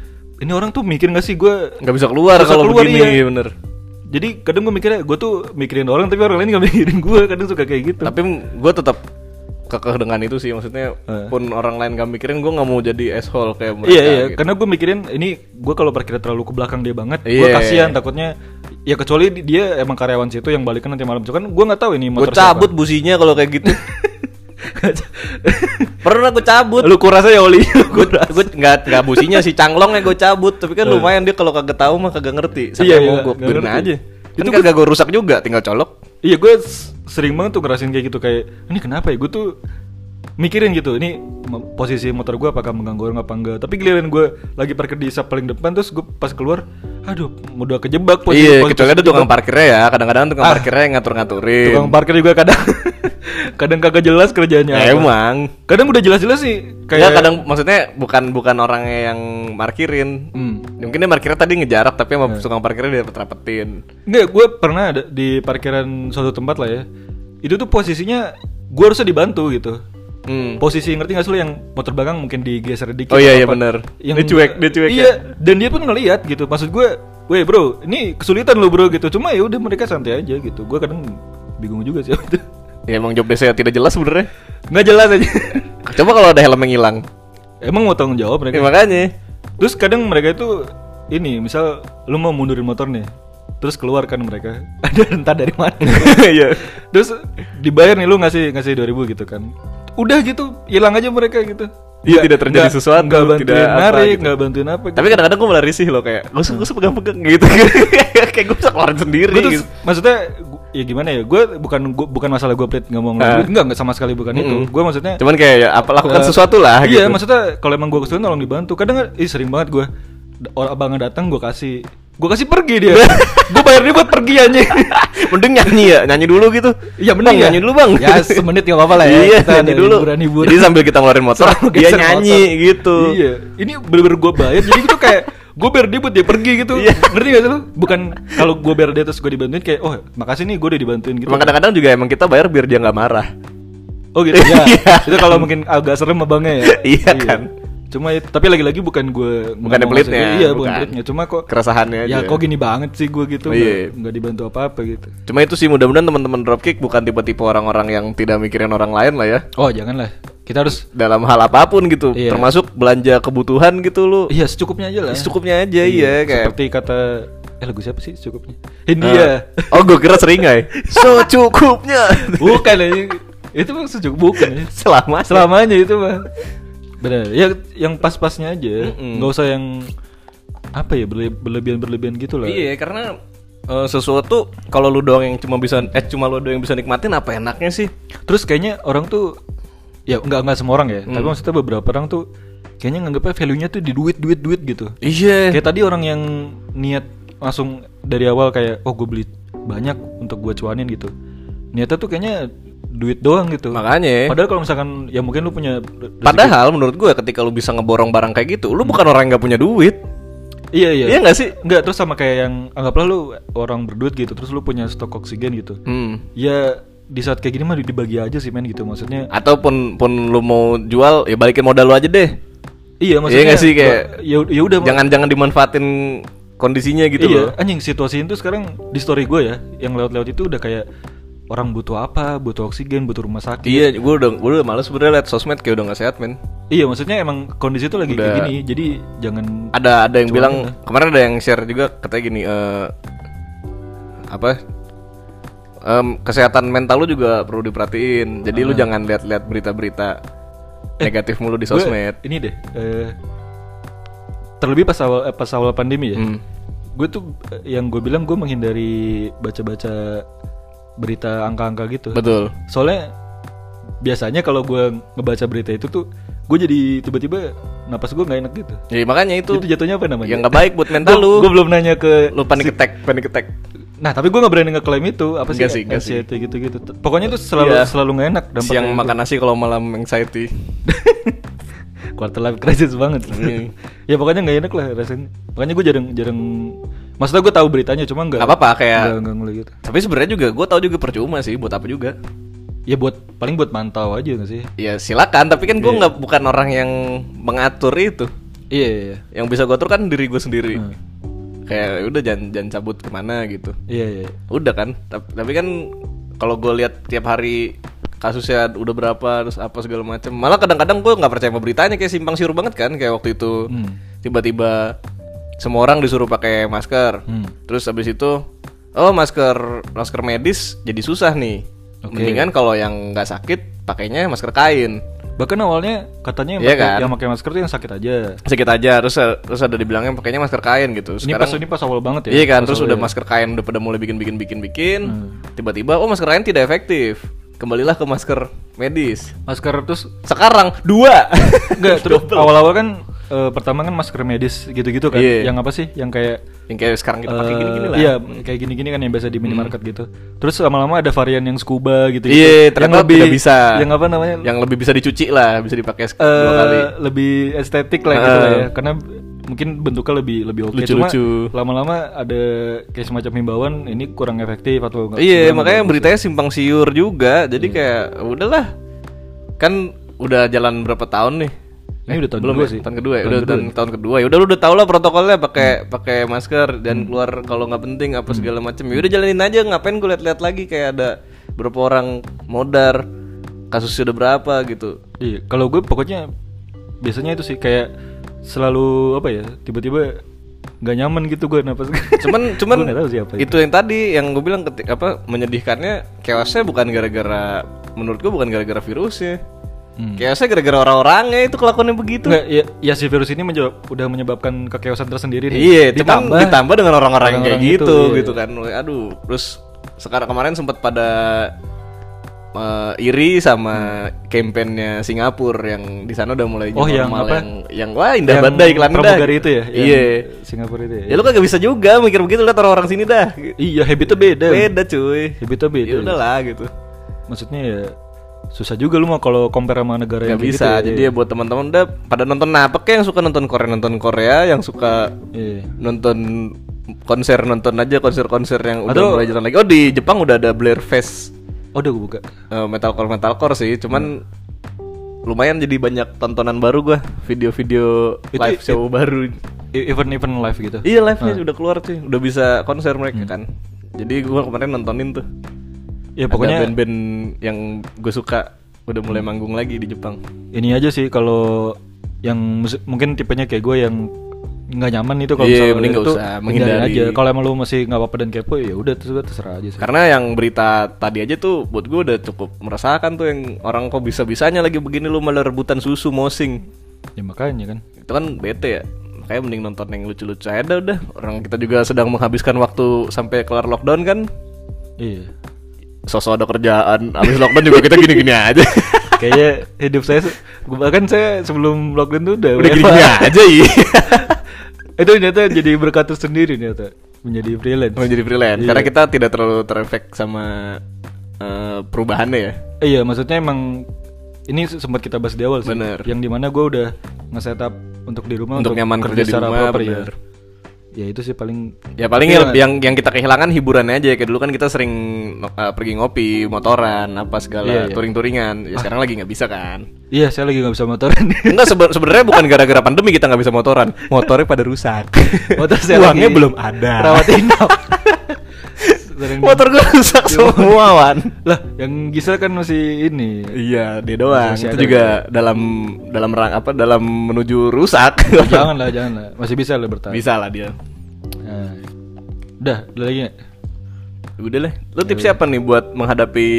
ini orang tuh mikir nggak sih gue
nggak bisa keluar
Susah
kalau
keluar,
begini
iya.
bener
jadi kadang gue mikirnya gue tuh mikirin orang tapi orang lain nggak mikirin gue kadang suka kayak gitu
tapi gue tetap kekeh dengan itu sih maksudnya
Eh.
pun orang lain gak mikirin gue nggak mau jadi asshole kayak mereka
Iya iya,
gitu.
karena gue mikirin ini gue kalau parkir terlalu ke belakang dia banget,
Iya.
gue kasihan takutnya ya kecuali di- dia emang karyawan situ yang balikan nanti malam. Cuman gue nggak tahu
gue
ini motor
cabut businya kalau kayak gitu pernah gue cabut
Lu kuras aja oli.
gue nggak nggak businya sih canglongnya gue cabut tapi kan lumayan dia kalau kagak tahu mah kagak ngerti
Iya,
sampai
iya,
mau gue
nggak
biarin
ngerti.
aja kan kagak gue rusak juga tinggal colok
iya gue sering banget tuh ngerasin kayak gitu kayak ini kenapa ya gue tuh mikirin gitu ini mo- posisi motor gue apakah mengganggu orang apa enggak tapi giliran gue lagi parkir di sap paling depan terus gue pas keluar aduh udah kejebak posisi-
iya
posisi
kecuali ada tukang
kejebak.
parkirnya ya kadang-kadang tukang parkirnya yang ngatur-ngaturin
tukang parkir juga kadang kadang kagak jelas kerjanya
Ya, emang Ya,
kadang udah jelas-jelas sih
kayak
kayak
kadang maksudnya bukan bukan orangnya yang markirin
Hmm. Iya.
Ya, mungkin dia parkirnya tadi ngejarak tapi sama tukang parkirnya dia rapetin
Nggak, gue pernah ada di parkiran suatu tempat lah ya. Itu tuh posisinya gue harusnya dibantu gitu.
hmm.
Posisi ngerti nggak sih lo yang motor belakang mungkin digeser
Oh
dikit.
iya,
atau
iya,
apa.
bener. Dia cuek, dia cuek ya?
Iya, dan dia pun ngelihat gitu. Maksud gue, weh bro, ini kesulitan lo bro gitu. Cuma ya udah mereka santai aja gitu. Gue kadang bingung juga sih. waktu itu.
ya emang job desk-nya tidak jelas sebenarnya
Nggak jelas aja.
coba kalau ada helm yang hilang
Emang mau tanggung jawab
ya,
mereka.
makanya
Terus kadang mereka itu ini, misal lu mau mundurin motor nih, terus keluarkan mereka. Ada entah dari mana.
iya
Terus dibayar nih lu ngasih ngasih 2000 gitu kan. Udah gitu, hilang aja mereka gitu.
Iya, tidak terjadi
nggak-
sesuatu,
nggak bantuin
tidak apa
narik,
gitu.
nggak bantuin apa.
tapi kadang-kadang gue malah risih loh kayak gue suka pegang-pegang gitu kayak gue bisa keluarin sendiri
gue tuh
gitu.
maksudnya gu- ya gimana ya? Gue bukan gua- bukan masalah gue pelit nggak mau
Ah.
ngeluarin, enggak enggak sama sekali bukan itu.
Mm-mm.
Gue maksudnya
cuman kayak ya, apa lakukan
eh,
sesuatu lah
Iya,
gitu.
maksudnya kalau emang gue kesulitan tolong dibantu. Kadang ih sering banget gue orang abangnya datang gue kasih gue kasih pergi dia. gue bayar dia buat pergi anjing.
mending nyanyi ya nyanyi dulu gitu
Iya, mending
Bang,
ya.
nyanyi dulu bang
Ya, semenit nggak apa-apa lah ya.
iya
Kita
nyanyi
ada
dulu
hiburan-hiburan.
jadi sambil kita ngeluarin motor
Selalu
dia
geser
nyanyi
motor.
gitu
Iya, ini bener-bener gue bayar. jadi itu kayak gue biar dia buat dia pergi gitu.
Iya.
Ngerti gak sih lu? Bukan kalau gue biar dia terus gue dibantuin kayak oh makasih nih gue udah dibantuin gitu.
Emang kadang-kadang juga emang kita bayar biar dia nggak marah
Oh gitu. Ya.
Iya.
itu kalau mungkin agak serem abangnya ya.
Iya kan.
Cuma ya- tapi lagi-lagi bukan gue
Bukan yang pelitnya,
Iya, bukan
bukan.
pelitnya. Cuma kok
Keresahannya
Ya
aja.
kok gini banget sih gue gitu
Oh, iya.
nggak nggak dibantu apa-apa gitu.
cuma itu sih mudah-mudahan teman-teman dropkick bukan tipe-tipe orang-orang yang tidak mikirin orang lain lah ya
Oh janganlah. Kita harus
dalam hal apapun gitu
Iya.
termasuk belanja kebutuhan gitu lu
Iya secukupnya aja lah.
secukupnya aja iya, kayak
Seperti kata eh lagu siapa sih secukupnya? India.
Eh, oh gue kira seringai secukupnya
bukan anjing. itu mah sejuk bukan anjing.
selama
selamanya itu mah benar ya yang pas-pasnya aja
Mm-mm.
nggak usah yang apa ya berlebihan berlebihan gitu lah
Iya, karena eh, sesuatu kalau lu doang yang cuma bisa eh cuma lu doang yang bisa nikmatin apa enaknya Iya sih?
terus kayaknya orang tuh ya nggak nggak semua orang ya
Hmm.
tapi maksudnya beberapa orang tuh kayaknya nganggapnya value nya tuh di duit duit duit gitu
Iya.
kayak tadi orang yang niat langsung dari awal kayak oh gue beli banyak untuk gue cuanin gitu niatnya tuh kayaknya duit doang gitu
Makanya.
padahal kalau misalkan ya mungkin lu punya re-
Padahal menurut gue ketika lu bisa ngeborong barang kayak gitu, lu bukan orang yang gak punya duit.
Iya iya.
Iya nggak sih?
Enggak terus sama kayak yang anggaplah lu orang berduit gitu terus lu punya stok oksigen gitu.
Hmm.
Ya di saat kayak gini mah dibagi aja sih men gitu maksudnya.
Ataupun pun lu mau jual, ya balikin modal lu aja deh.
Iya maksudnya
nggak sih, kayak
ya ya udah Mak.
jangan jangan dimanfaatin kondisinya gitu
iya,
loh.
Anjing situasi itu sekarang di story gue ya, yang lewat-lewat itu udah kayak orang butuh apa, butuh oksigen, butuh rumah sakit.
Iya, gue udah gue udah males sebenarnya liat sosmed kayak udah nggak sehat men.
Iya, maksudnya emang kondisi itu lagi kayak
Udah.
gini. Jadi jangan
Ada ada yang
Cuan
bilang
kita.
kemarin ada yang share juga katanya gini eh apa em, kesehatan mental lu juga perlu diperhatiin. Jadi lu jangan lihat-lihat berita-berita negatif mulu di
Gue-
sosmed.
ini deh. eh, terlebih pas awal eh, pas awal pandemi ya.
Hmm.
Gue tuh eh, yang gue bilang gue menghindari baca-baca berita angka-angka gitu.
Betul.
Soalnya biasanya kalau gue ngebaca berita itu tuh gue jadi tiba-tiba napas gue nggak enak gitu.
Jadi makanya itu,
Itu, jatuhnya apa namanya?
yang nggak baik buat mental lu.
Gue belum nanya ke
Lu panic attack, panic attack.
Nah, tapi gue nggak berani ngeklaim itu apa sih,
Nggak sih, nggak sih.
anxiety gitu-gitu. T- Pokoknya itu selalu
Iya.
selalu nggak enak dampaknya.
Siang makan nasi kalau malam anxiety.
Quarter life crisis banget.
Iya.
ya pokoknya nggak enak lah rasanya. Makanya gue jarang jarang maksudnya gue tahu beritanya cuma nggak
Nggak apa-apa, kayak-
nggak- nggak ngeliat gitu.
Tapi sebenarnya juga gue tau juga percuma sih buat apa juga.
Ya buat paling buat mantau aja nggak sih?
Ya silakan, tapi kan gue nggak bukan orang yang mengatur itu.
Iya iya iya.
Yang bisa gue atur kan diri gue sendiri.
Hmm.
Kayak "Ya udah jangan jangan cabut kemana gitu.
Iya iya.
Udah kan. Tapi, tapi kan kalau gue lihat tiap hari kasusnya udah berapa terus apa segala macam. Malah kadang-kadang gue nggak percaya sama beritanya kayak simpang siur banget kan kayak waktu itu
Hmm.
tiba-tiba semua orang disuruh pakai masker.
Hmm.
Terus habis itu oh masker masker medis jadi susah nih.
Oke.
Mendingan kalau yang nggak sakit pakainya masker kain.
Bahkan awalnya katanya yang
Iya
pakai-
kan?
yang pakai masker tuh yang sakit aja.
Sakit aja terus terus ada dibilangnya pakainya masker kain gitu.
ini pas ini pas awal banget ya.
Iya kan,
Pas
terus
awal
udah
ya.
masker kain udah pada mulai bikin bikin bikin bikin,
Hmm.
tiba-tiba oh masker kain tidak efektif, kembalilah ke masker medis.
masker terus
Sekarang dua.
Enggak, terus awal-awal kan eh, pertama kan masker medis gitu-gitu kan.
Iya.
Yang apa sih? Yang kayak
yang kayak sekarang kita pakai
eh,
gini-gini lah. Hmm.
Iya, kayak gini-gini kan yang biasa di minimarket gitu. Terus lama-lama ada varian yang scuba gitu.
Iya, ternyata tidak bisa.
Yang apa namanya?
Yang lebih bisa dicuci lah, bisa dipakai sek- dua
eh,
kali.
lebih estetik lah gitu lah ya.
Eh.
Karena mungkin bentuknya lebih lebih oke cuma
Lucu-lucu.
lama-lama ada kayak semacam himbauan ini kurang efektif atau nggak- Hmm.
Iya,
kurang
makanya beritanya simpang siur juga. Jadi kayak udahlah. Kan udah jalan berapa tahun nih?
Ini udah tahun
belum
kedua
ya?
sih.
Tahun kedua ya,
Tahun
udah
kedua Hmm.
tahun, tahun kedua. Ya udah lu udah tau lah protokolnya pakai pakai masker dan keluar kalau nggak penting apa segala macam. Ya udah jalanin aja, ngapain gue liat-liat lagi kayak ada berapa orang modar, kasusnya udah berapa gitu.
Iya, kalau gue pokoknya biasanya itu sih kayak selalu apa ya, tiba-tiba nggak nyaman gitu gue napas.
Cuman cuman
Gue nggak tahu siapa ya.
itu. yang tadi yang gue bilang ketik apa menyedihkannya chaosnya bukan gara-gara menurut gue bukan gara-gara virusnya.
Hmm.
Chaosnya gara-gara orang-orangnya itu kelakuannya begitu.
Nggak, ya, ya si virus ini menjawab, udah menyebabkan kekeosan tersendiri nih.
Iya, cuman ditambah, dengan orang-orang yang kayak
orang-orang
gitu,
itu, iya.
gitu kan. Aduh, terus sekarang kemarin sempat pada eh, iri sama kampanyenya Singapura yang di sana udah mulai
Oh, yang
normal
apa?
yang, yang wah indah banget dah iklan
pramugari itu ya, yang
Iya.
Singapura itu ya.
Ya lu kagak bisa juga mikir begitu lihat orang-orang sini dah.
Iya, habitnya beda.
Beda cuy.
Habitnya beda.
Ya udahlah gitu.
Maksudnya ya susah juga lu mau kalau compare sama negara
Gak
yang kayak
bisa.
gitu ya.
Jadi ya buat teman-teman udah pada nonton apa kayak yang suka nonton Korea nonton Korea, yang suka
Iya.
nonton konser nonton aja konser-konser yang udah
Atau-
mulai jalan lagi. Oh di Jepang udah ada Blair Fest
Oh, udah gue buka.
eh, metalcore metalcore sih, cuman lumayan jadi banyak tontonan baru gua, video-video
Itu-
live show baru.
E- Event-event live gitu.
Iya live-nya udah keluar sih, udah bisa konser mereka kan. Jadi gua kemarin nontonin tuh. Ada
Ya pokoknya
band-band yang gue suka udah mulai manggung lagi di Jepang.
ini aja sih kalau yang mus- mungkin tipenya kayak gue yang nggak nyaman itu kalau
Iya,
misalnya
mending nggak
itu,
usah,
hindari
menghindari.
aja kalau emang lu masih nggak apa-apa dan kepo ya udah terus terserah aja sih
Karena yang berita tadi aja tuh buat gue udah cukup meresahkan tuh yang orang kok bisa-bisanya lagi begini lu malah rebutan susu mosing.
ya makanya kan
Itu kan bete ya. Makanya mending nonton yang lucu-lucu aja dah udah. Orang kita juga sedang menghabiskan waktu sampai kelar lockdown kan.
iya
Sosok ada kerjaan, habis lockdown juga kita gini-gini aja.
kayaknya hidup saya se- gua- bahkan saya sebelum lockdown tuh udah,
Udah
WFH.
gini-gini aja iya.
itu ternyata jadi berkat sendiri ternyata menjadi freelance Iya.
Mau jadi freelance. Karena kita tidak terlalu terefek sama eh, perubahannya ya.
Eh, iya maksudnya emang ini se- sempat kita bahas di awal sih
Bener.
yang dimana gue udah nge-setup untuk di rumah
Untuk nyaman kerja di
secara
rumah,
proper ya
bener.
ya itu sih paling
Ya paling yang,
Tapi
yang yang kita kehilangan hiburannya aja kayak dulu kan kita sering eh, pergi ngopi, motoran, apa
Iya,
segala
iya.
touring-touringan. Ya sekarang lagi nggak bisa kan.
iya saya lagi nggak bisa motoran
Enggak sebe- sebenarnya bukan gara-gara pandemi kita nggak bisa motoran. Motornya pada rusak.
motor saya
Uangnya
lagi
belum ada.
rawat inap Sering-
Motor gue rusak semua, Wan.
lah yang Gisel kan masih ini
Iya, dia doang.
Masih
Itu
ada,
juga dalam dalam rang apa? Dalam menuju rusak.
jangan lah jangan lah masih bisa lah bertahan
bisa lah dia.
nah. udah ada lagi nggak?
Udah lah. Lu
Iya.
tips apa nih buat menghadapi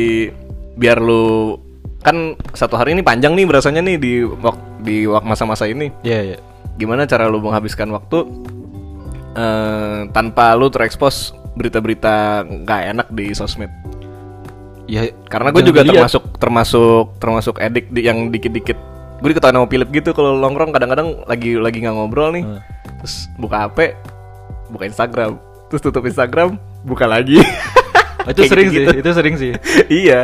biar lu kan satu hari ini panjang nih berasanya nih di wak- di wak- masa-masa ini.
iya iya
Gimana cara lu menghabiskan waktu eh, tanpa lu terekspos berita-berita nggak enak di sosmed?
ya
Karena gue
jangan
juga
dilihat.
termasuk termasuk termasuk edik di, yang dikit-dikit. Gue diketahui sama Philip gitu kalau nongkrong kadang-kadang lagi lagi nggak ngobrol nih.
Hmm.
Terus buka HP, buka Instagram, terus tutup Instagram, buka lagi.
Oh, itu
Kayak gitu.
sering
gitu-gitu.
sih itu sering sih
iya.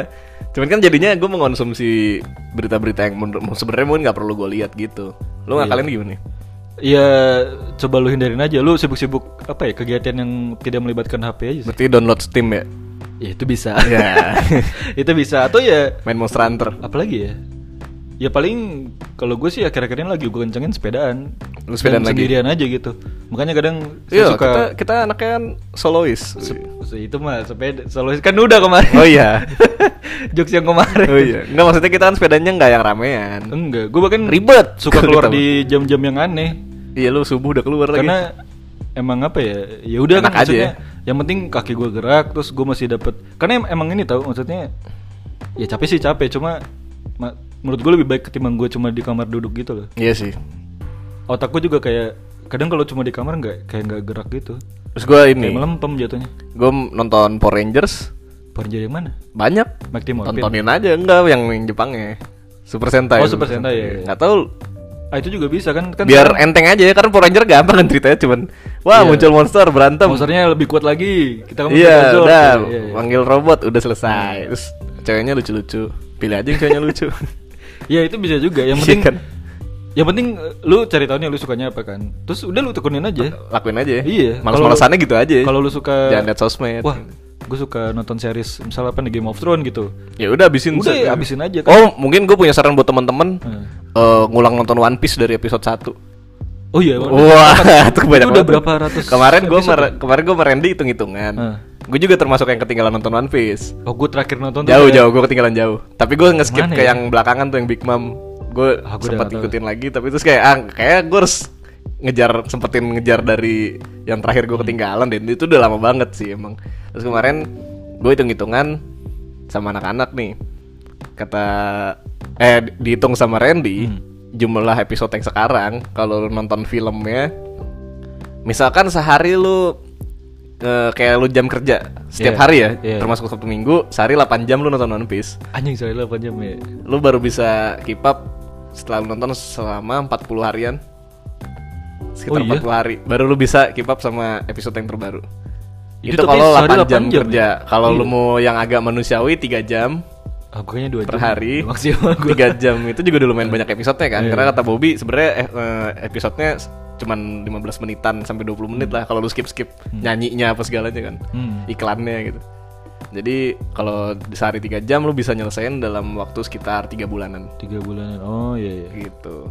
Cuman kan jadinya gue mengonsumsi berita-berita yang menurut sebenarnya mungkin nggak perlu gue lihat gitu. Lu
Iya.
ngakalin gimana nih?
ya coba lu hindarin aja lu sibuk-sibuk apa ya kegiatan yang tidak melibatkan HP aja sih
Berarti download Steam ya?
ya itu bisa
Iya.
itu bisa atau ya
Main Monster Hunter.
apalagi ya ya paling kalau gue sih akhir-akhir ini lagi gue kencengin sepedaan
Lu sepedaan
Dan
lagi?
sendirian aja gitu makanya kadang saya
Iya,
suka
kita kita anaknya kan solois.
Se- itu mah sepeda solo kan udah kemarin
Oh iya.
jokes yang kemarin
Oh iya. Enggak maksudnya kita kan sepedanya nggak yang ramean.
enggak gue bahkan
Ribet.
suka keluar di jam-jam yang aneh
Iya lu subuh udah keluar
karena
lagi.
emang apa ya ya udah kan
Enak aja
maksudnya yang penting kaki gue gerak terus gue masih dapet karena em- emang ini tau maksudnya ya capek sih capek cuma ma- menurut gue lebih baik ketimbang gue cuma di kamar duduk gitu loh
Iya sih.
otak gue juga kayak kadang kalau cuma di kamar nggak kayak nggak gerak gitu
Terus gue ini,
kayak melempem jatuhnya
gue nonton Power Rangers
Porja yang mana
banyak.
Mike Timopin
Tontonin aja enggak yang yang Jepangnya. Super Sentai.
Oh, Super Sentai, iya, iya.
Nggak tahu
ah itu juga bisa kan kan
biar enteng aja ya karena Power Ranger gampang kan ceritanya cuman wah
Iya.
muncul monster berantem.
monsternya lebih kuat lagi kita kan
iya,
Megazord.
udah
Iya, iya.
panggil robot udah selesai. Terus ceweknya lucu-lucu. Pilih aja yang ceweknya lucu.
Ya itu bisa juga. Yang
Iya
penting
kan?
Yang penting eh, lu cari tahu nih lu sukanya apa kan. Terus udah lu tekunin aja.
Lakuin aja ya.
Iya.
Males-malesannya
Kalau-
gitu aja.
Kalau lu suka
Jangan liat sosmed.
Wah, gue suka nonton series misalnya apa nih Game of Thrones gitu.
Ya udah habisin
Udah,
se-
habisin aja kan.
Oh, mungkin gue punya saran buat teman-teman.
Hmm.
Eh, ngulang nonton One Piece dari episode 1
Oh iya.
Wah, itu banyak
udah
banget.
berapa ratus
Kemarin gue
episode?
kemarin gue merendi hitung-hitungan.
Hmm.
Gue juga termasuk yang ketinggalan nonton One Piece.
Oh, gue terakhir nonton tuh
Jauh
kayak-
jauh gue ketinggalan jauh. Tapi gue nge-skip
Mana
ke
ya?
yang belakangan tuh yang Big Mom. Gue
Ah, gua udah
sempat
nggak tahu.
ikutin lagi tapi terus kayak ah, kayak gue harus ngejar sempetin ngejar dari yang terakhir
Hmm.
gue ketinggalan dan itu udah lama banget sih emang. Terus kemarin gue hitung-hitungan sama anak-anak nih. Kata eh di- dihitung sama Randy
Hmm.
jumlah episode yang sekarang kalau lu nonton filmnya Misalkan sehari lu eh, kayak lu jam kerja setiap
Iya,
hari ya,
iya.
termasuk Sabtu Minggu, sehari 8 jam lu nonton One Piece.
Anjing sorry 8 jam ya.
Lu baru bisa keep up setelah lu nonton selama 40 harian. Sekitar
Oh iya?
40 hari baru lu bisa keep up sama episode yang terbaru.
Itu
Itu,
tapi
kalau
sehari
8 jam,
8 jam
kerja.
ya?
Kalau lu
Iya.
mau yang agak manusiawi 3 jam
Ah, gua kayaknya 2 jam.
per hari
Maksimal gue.
tiga jam itu juga udah lumayan banyak episodenya kan
Iya.
karena kata Bobby sebenarnya eh, eh, episodenya s- cuman 15 menitan sampai 20 menit lah kalau lu skip skip nyanyinya apa segalanya kan
Hmm.
iklannya gitu jadi kalau di sehari tiga jam lu bisa nyelesain dalam waktu sekitar tiga bulanan
3 bulanan. Oh iya iya.
gitu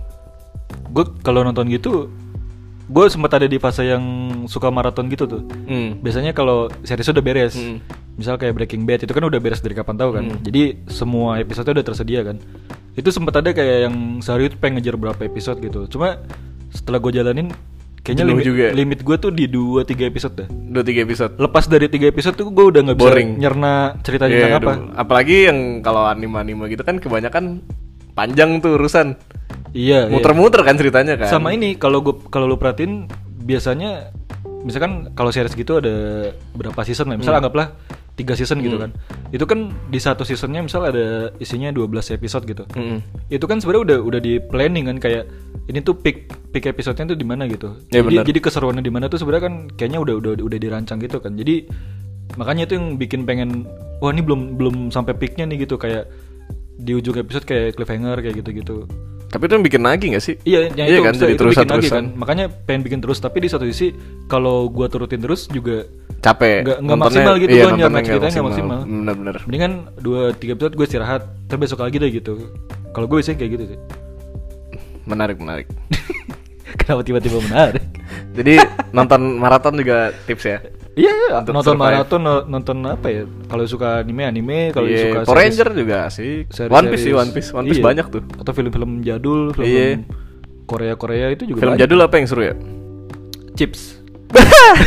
Gue kalau nonton gitu gue sempat ada di fase yang suka maraton gitu tuh.
hmm.
biasanya kalau series udah beres
Mm.
misal kayak Breaking Bad itu kan udah beres dari kapan tahu kan
Hmm.
jadi semua episode udah tersedia kan itu sempat ada kayak yang sehari itu pengen ngejar berapa episode gitu cuma setelah gue jalanin kayaknya
Jenuh
limit,
juga. ya?
limit gue tuh di 2-3 episode dah
dua tiga episode
lepas dari tiga episode tuh gue udah nggak bisa
Boring.
nyerna cerita
Iya,
tentang apa
aduh. apalagi yang kalau anime anime gitu kan kebanyakan panjang tuh urusan
iya iya.
muter-muter kan ceritanya kan
sama ini kalau gue kalau lu perhatiin biasanya misalkan kalau series gitu ada berapa season lah
Hmm.
misal anggaplah tiga season gitu kan itu kan di satu seasonnya misal ada isinya 12 episode gitu
Mm-mm.
itu kan sebenarnya udah udah di planning kan kayak ini tuh peak peak episodenya tuh di mana gitu
Ya,
jadi
benar.
jadi keseruannya di mana tuh sebenarnya kan kayaknya udah udah udah dirancang gitu kan jadi makanya itu yang bikin pengen wah ini belum belum sampai peaknya nih gitu kayak di ujung episode kayak cliffhanger kayak gitu gitu
Tapi itu yang bikin nagih gak sih?
Iya, yang
iya
itu,
kan
bisa-
jadi
itu bikin lagi
terusan-terusan.
kan. Makanya pengen bikin terus, tapi di satu sisi kalau gua turutin terus juga
Capek.
Nggak- nggak
Nontonnya-
maksimal gitu,
iya,
gua nyampe
nontonnya
ceritanya nggak maksimal.
Bener-bener.
mendingan dua tiga episode gue istirahat, terus besok lagi deh gitu. Kalau gue biasanya kayak gitu sih.
Menarik, menarik.
Kenapa tiba-tiba menarik?
Jadi nonton maraton juga tips ya.
Iya, iya,
Untuk
nonton
survive.
maraton, no- nonton apa ya? Kalau suka anime, anime. Kalau
Iya,
suka
Power
series-
Ranger juga sih.
series-
One Piece sih, One Piece. One Piece
Iya.
banyak tuh.
Atau film-film jadul, film
Iya.
Korea Korea itu juga.
Film
banyak.
jadul apa yang seru ya?
Chips.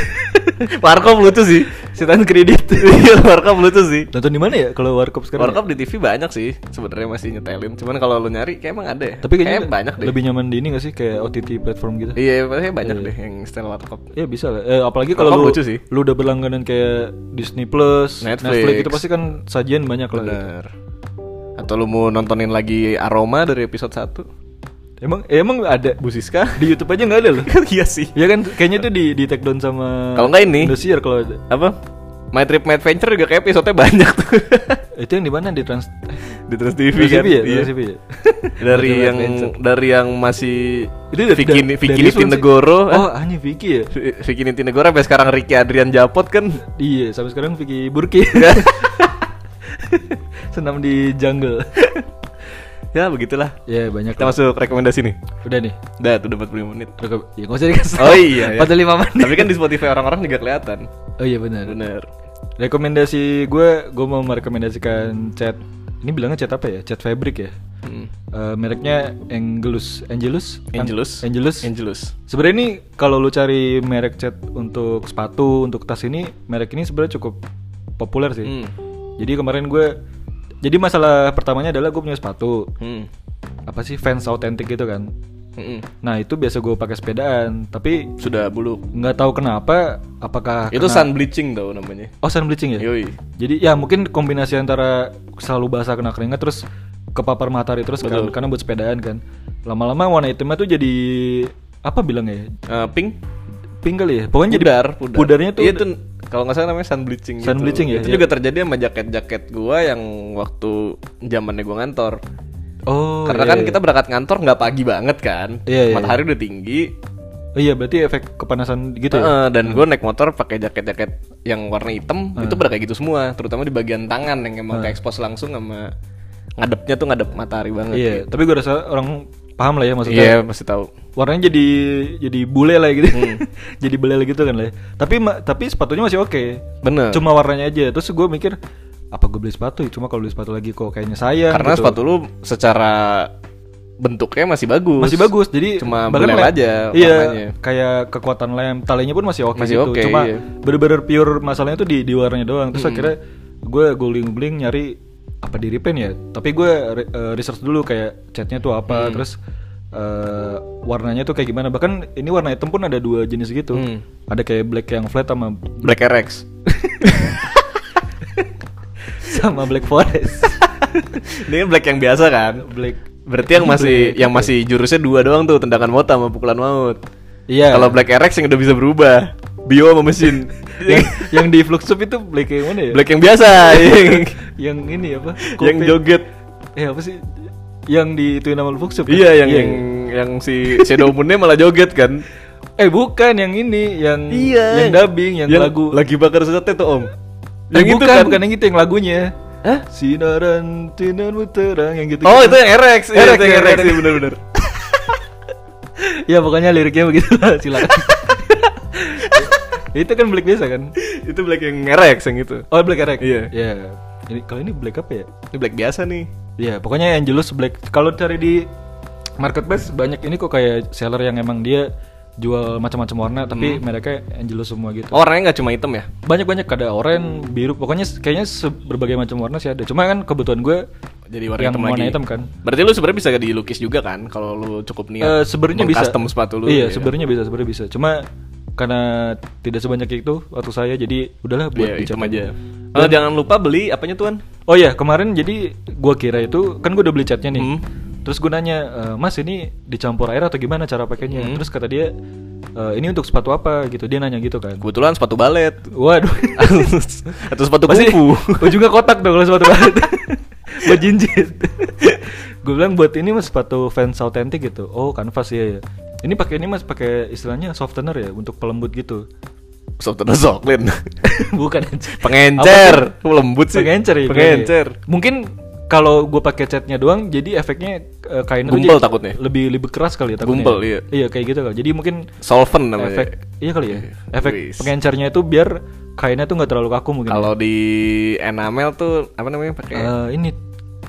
Warkop lucu sih. Setan kredit. Iya, Warkop lucu sih.
Nonton di mana ya? Kalau Warkop sekarang? ya?
Warkop di TV banyak sih sebenarnya masih nyetelin. Cuman kalau lu nyari kayak emang ada ya.
Tapi kayaknya
banyak deh.
lebih nyaman di ini gak sih kayak OTT platform gitu?
Iya, kayaknya banyak
Iya.
deh yang setel Warkop.
Ya bisa lah. Eh, apalagi
Warkop
kalau lu,
lucu sih.
lu udah berlangganan kayak Disney Plus,
Netflix.
Netflix, itu pasti kan sajian banyak lah. gitu.
Bener. Atau lu mau nontonin lagi Aroma dari episode 1?
Emang eh, emang ada
Bu Siska?
di YouTube aja nggak ada loh.
iya sih.
ya kan kayaknya itu di di take down sama
Kalau nggak ini.
Indosiar kalau ada.
Apa? My Trip My Adventure juga kayak episode-nya banyak tuh.
itu yang di mana di Trans
di Trans TV
Trans
kan.
TV
Iya.
ya? Trans TV ya?
dari
My Trip
yang
Adventure.
dari yang masih
Itu dari-
Vicky
dari-
Vicky eh?
dari Islam sih.
Nitinegoro.
Oh, hanya Vicky ya?
V- Vicky Nitinegoro sampai sekarang Ricky Adrian Japot kan.
Iya, sampai sekarang Vicky Burki. Senam di jungle.
ya begitulah.
ya, banyak.
Kita
lah.
masuk rekomendasi nih.
Udah nih.
Udah, tuh udah 45 menit.
Rekam- Ya, nggak usah dikasih.
Oh iya, iya.
45 menit.
Tapi kan di Spotify orang-orang juga kelihatan.
Oh iya benar.
Bener.
Rekomendasi gue, gue mau merekomendasikan cat. Ini bilangnya cat apa ya? Cat fabric ya.
Hmm.
Eh, mereknya Angelus. Angelus. An-
Angelus.
Angelus.
Angelus.
Sebenarnya ini kalau lu cari merek cat untuk sepatu, untuk tas ini, merek ini sebenarnya cukup populer sih.
Hmm.
Jadi kemarin gue, jadi masalah pertamanya adalah gue punya sepatu
Hmm.
apa sih fans authentic gitu kan.
Mm-mm.
Nah itu biasa gue pakai sepedaan, tapi
Sudah bulu.
nggak tahu kenapa, apakah
Itu
Nah, kena-
sun bleaching tau namanya.
oh sun bleaching ya?
Yoi.
Jadi ya mungkin kombinasi antara selalu basah kena keringat terus kepapar matahari terus kan,
Betul.
karena buat sepedaan kan. Lama-lama warna hitamnya tuh jadi apa bilangnya ya?
Eh, pink.
Pink kali ya. Pokoknya jadi
Pudar, pudar.
pudarnya tuh
Iya, itu kalau nggak salah namanya sun bleaching. gitu.
Sun bleaching ya,
Itu
iya.
juga terjadi sama jaket-jaket gua yang waktu zamannya gua ngantor.
Oh.
Karena
iya,
kan
iya.
kita berangkat ngantor nggak pagi banget kan.
Iya, iya,
Matahari udah tinggi.
Oh iya berarti efek kepanasan gitu ya.
Eh, dan gua naik motor pakai jaket-jaket yang warna hitam
Hmm.
itu pada kayak gitu semua, terutama di bagian tangan yang emang ke expose langsung sama ngadepnya tuh ngadep matahari banget.
Iya, tapi gue rasa orang paham lah
Ah,
ya
Iya,
maksudnya.
masih tahu.
Warnanya jadi jadi bule lah gitu.
Hmm.
jadi bule lah gitu kan lah. ya. Tapi ma- tapi sepatunya masih oke.
Bener.
Cuma warnanya aja. Terus gue mikir apa gue beli sepatu? Cuma kalau beli sepatu lagi kok kayaknya sayang
Karena
gitu.
sepatu lu secara bentuknya masih bagus.
masih bagus jadi
Cuma
bahkan
belel
lem-
aja
iya
warnanya.
kayak kekuatan lem talinya pun masih oke
Masih
gitu
oke,
cuma
iya. Hmm.
bener-bener pure masalahnya tuh di di warnanya doang terus akhirnya gue guling-guling nyari apa di repaint ya tapi gue re- eh, research dulu kayak catnya tuh
Hmm.
apa terus eh, warnanya tuh kayak gimana bahkan ini warna hitam pun ada dua jenis gitu
Hmm.
ada kayak black yang flat sama
Black RX.
sama black forest
Ini kan black yang biasa kan.
black
Berarti
Iya,
yang masih yang masih jurusnya dua doang tuh tendangan maut sama pukulan maut.
iya
Kalau black RX yang udah bisa berubah. Bio sama mesin.
yang, yang di flux itu black yang mana ya
black yang biasa. yang,
yang ini apa?
yang
Coldplay.
joget.
Eh apa sih? Yang di itu nama Fox Shop, kan?
Iya yang yang yang si Shadow Moon-nya malah joget kan.
Eh bukan yang ini, yang yang dubbing, yang,
Iya.
lagu.
Lagi bakar sate tuh Om.
Iya.
kan?
Eh, bukan, bukan yang itu yang lagunya. Hah? Sinaran sinarmu terang yang gitu.
Oh, itu yang RX. Iya,
RX,
itu yang
iya,
RX,
RX.
iya, bener-bener.
ya pokoknya liriknya begitu silakan. itu kan black biasa kan?
itu black yang RX yang itu.
Oh black erek.
Iya.
Iya. Ini kalau ini black apa ya?
Ini black biasa nih.
Iya, pokoknya Angelus Black. Kalau cari di marketplace banyak ini kok kayak seller yang emang dia jual macam-macam warna tapi
Hmm.
mereka Angelus semua gitu.
Oh, Warnanya nggak cuma hitam ya?
Banyak-banyak ada
Hmm.
oranye, biru, pokoknya se- kayaknya se- berbagai macam warna sih ada. Cuma kan kebutuhan gue
Jadi warna
yang
hitam
warna
lagi.
hitam kan.
Berarti lu sebenarnya bisa dilukis juga kan kalau lu cukup niat.
Eh, sebenarnya bisa.
Custom sepatu lu.
Iya,
gitu.
sebenarnya bisa, sebenarnya bisa. Cuma karena tidak sebanyak itu waktu saya jadi udahlah buat
Iya,
dicat Eh,
hitam aja. Oh, jangan lupa beli apanya tuan?
Oh ya kemarin jadi gua kira itu kan gua udah beli catnya nih.
Hmm.
Terus gue nanya, "E, Mas ini dicampur air atau gimana cara
Hmm.
pakainya? Terus kata dia, "E, ini untuk sepatu apa gitu. Dia nanya gitu kan.
Kebetulan sepatu balet.
Waduh.
Atau sepatu
Pasti
kupu.
ujungnya kotak dong kalau sepatu banget. Buat jinjit. gue bilang buat ini mas sepatu fans autentik gitu oh kanvas ya ya ini pakai ini mas pakai istilahnya softener ya untuk pelembut gitu
Softener Zoklin
bukan anjir.
Pengencer Lembut sih
pengencer ya
Pengencer
kayaknya. mungkin kalau gue pakai catnya doang jadi efeknya eh, kainnya tuh
Gumpel
jadi
takutnya.
lebih lebih keras kali ya takutnya
Gumpel, iya.
iya kayak gitu kali jadi mungkin
Solvent namanya
efek iya kali ya efek
Wis.
pengencernya itu biar kainnya tuh nggak terlalu kaku mungkin
Kalau di enamel tuh Apa namanya pakai
Eh, ini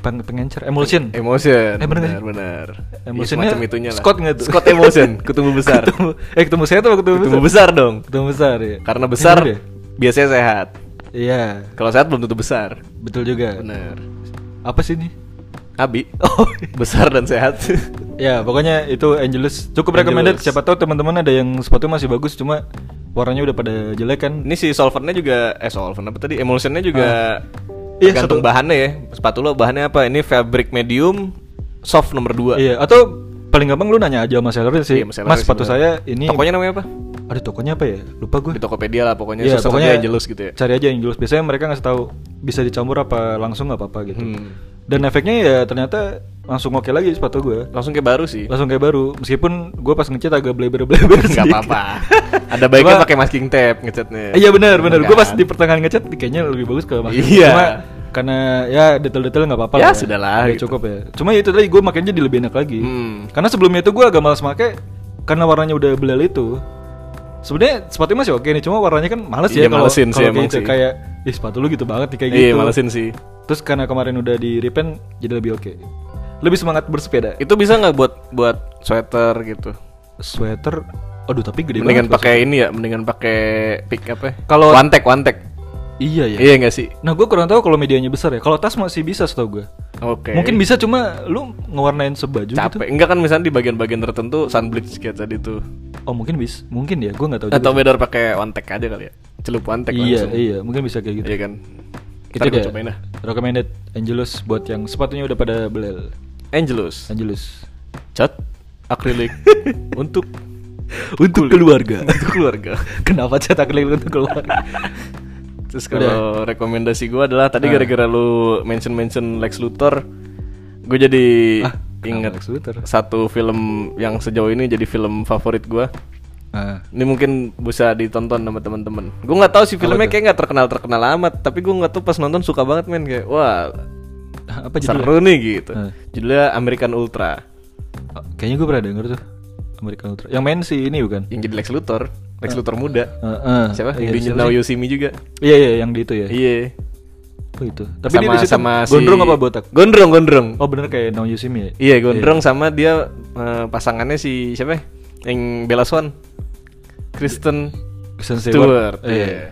pen- pengencer emulsion
Emotion
Eh, bener nggak sih?
bener
Emotionnya
Emotionnya Iya, itunya lah
Scott nggak tuh?
Scott Emotion Ketemu besar
ketemu, eh ketemu saya tuh ketemu,
Ketemu
besar
besar dong
ketemu besar ya
Karena besar
Bener ya?
Biasanya sehat
iya
Kalau sehat belum tentu besar
betul juga
Bener
apa sih ini
Abi
oh
Besar dan sehat
ya pokoknya itu Angelus cukup recommended
Angelus.
siapa tahu teman-teman ada yang sepatu masih bagus cuma warnanya udah pada jelek kan
Ini si solventnya juga Eh solvent apa tadi Emulsionnya juga
Iya,
Tergantung
satu-
bahannya ya Sepatu lo bahannya apa Ini fabric medium Soft nomor 2
iya atau paling gampang lu nanya aja sama sellernya sih
Iya,
mas sepatu saya ini
gitu. Tokonya namanya apa?
ada tokonya apa ya lupa gue
Di Tokopedia lah pokoknya
Iya,
Susah aja
pokoknya
jelas gitu ya
Cari aja yang jelas. Biasanya mereka ngasih tahu bisa dicampur apa langsung nggak apa-apa gitu.
Hmm.
Dan efeknya ya ternyata langsung oke lagi sepatu gue.
Langsung kayak baru sih
Langsung kayak baru. Meskipun gue pas ngecat agak bleber-bleber
Gak
sedikit.
apa-apa Ada baiknya
Cuma-
pakai masking tape ngecatnya
Iya benar benar. Gue pas
Kan?
di pertengahan ngecat kayaknya lebih bagus kalau pakai.
Iya.
Cuma karena ya detail-detail nggak apa-apa
Ya,
lah
sudahlah,
Ya,
gitu.
cukup ya. Cuma ya itu tadi gue makanya jadi lebih enak lagi.
Hmm.
Karena sebelumnya itu gue agak malas make karena warnanya udah belal itu. Sebenarnya sepatunya masih oke nih, cuma warnanya kan males
Iya,
ya kalau
malesin sih
kalau kayak
emang
gitu.
sih.
kayak ih sepatu lu gitu banget nih kayak
Iya
gitu.
malesin sih
Terus karena kemarin udah di repaint jadi lebih oke. Lebih semangat bersepeda.
Itu bisa nggak buat buat sweater gitu?
Sweater aduh tapi gede
mendingan
banget.
pakai ini ya, mendingan pakai pick apa? ya?
Kalau-
wantek wantek.
Iya ya.
Iya nggak sih?
Nah, gue kurang tahu kalau medianya besar ya. Kalau tas masih bisa setahu gue.
Oke.
Mungkin bisa cuma lu ngewarnain sebaju gitu.
capek. Enggak kan misalnya di bagian-bagian tertentu sunbleach kayak tadi tuh.
Oh, mungkin bisa. Mungkin ya, gue nggak tahu
Atau better pakai wantek aja kali ya. Celup wantek
Iya,
langsung.
iya, mungkin bisa kayak gitu.
Iya kan.
Itu
Ntar gua
dia.
cobain dah.
Recommended Angelus buat yang sepatunya udah pada belel.
Angelus.
Angelus.
Cat akrilik untuk
Untuk keluarga.
untuk keluarga.
Kenapa cetak lilin untuk keluarga?
Terus kalau rekomendasi gue adalah
Ah.
tadi gara-gara lu mention-mention Lex Luthor, gue jadi
Ah,
inget
Lex Luthor?
satu film yang sejauh ini jadi film favorit gue.
Nah,
Ini mungkin bisa ditonton sama teman-teman. Gue nggak tahu sih filmnya kayak nggak terkenal terkenal amat, tapi gue nggak tahu pas nonton suka banget men kayak wah
apa judulnya?
seru nih gitu.
Ah.
Judulnya American Ultra
Oh, Kayaknya gue pernah denger tuh. American Ultra. Yang main si ini bukan?
yang jadi Lex Luthor, Lex Luthor muda.
Eh, eh.
Siapa?
Iya,
Yang di
siapa
Now
sih?
You See Me juga.
Iya, iya, yang di itu ya.
Iya.
Oh, itu. Tapi dia di situ
si-
gondrong apa botak?
Gondrong, gondrong.
Oh, bener kayak Now You See Me ya?
Iya gondrong sama dia eh, pasangannya si siapa ya? Yang Bella Swan Kristen
Kristen
Stewart,
Iya.
Iya.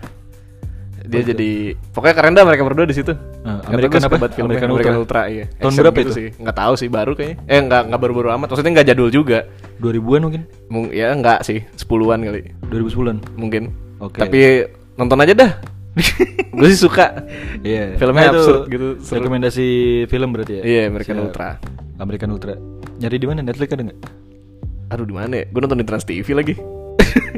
Dia jadi pokoknya keren dah mereka berdua di situ. Kata
Eh, American
gua suka
apa?
banget filmnya,
American
American,
Ultra.
Ultra. iya.
Tahun
Action
berapa
gitu
itu?
sih? Nggak tahu sih, baru kayaknya. Eh nggak nggak baru-baru amat. Maksudnya nggak jadul juga.
2000-an mungkin?
Mung- ya nggak sih, 10-an kali
2010-an?
mungkin.
Oke.
Tapi nonton aja dah. Gue sih suka.
Iya.
Filmnya
itu
absurd gitu, seru.
Rekomendasi film berarti ya?
Iya, American
Siap.
Ultra.
American Ultra. Nyari di mana? Netflix ada nggak?
Aduh di mana ya? Gue nonton di Trans TV lagi.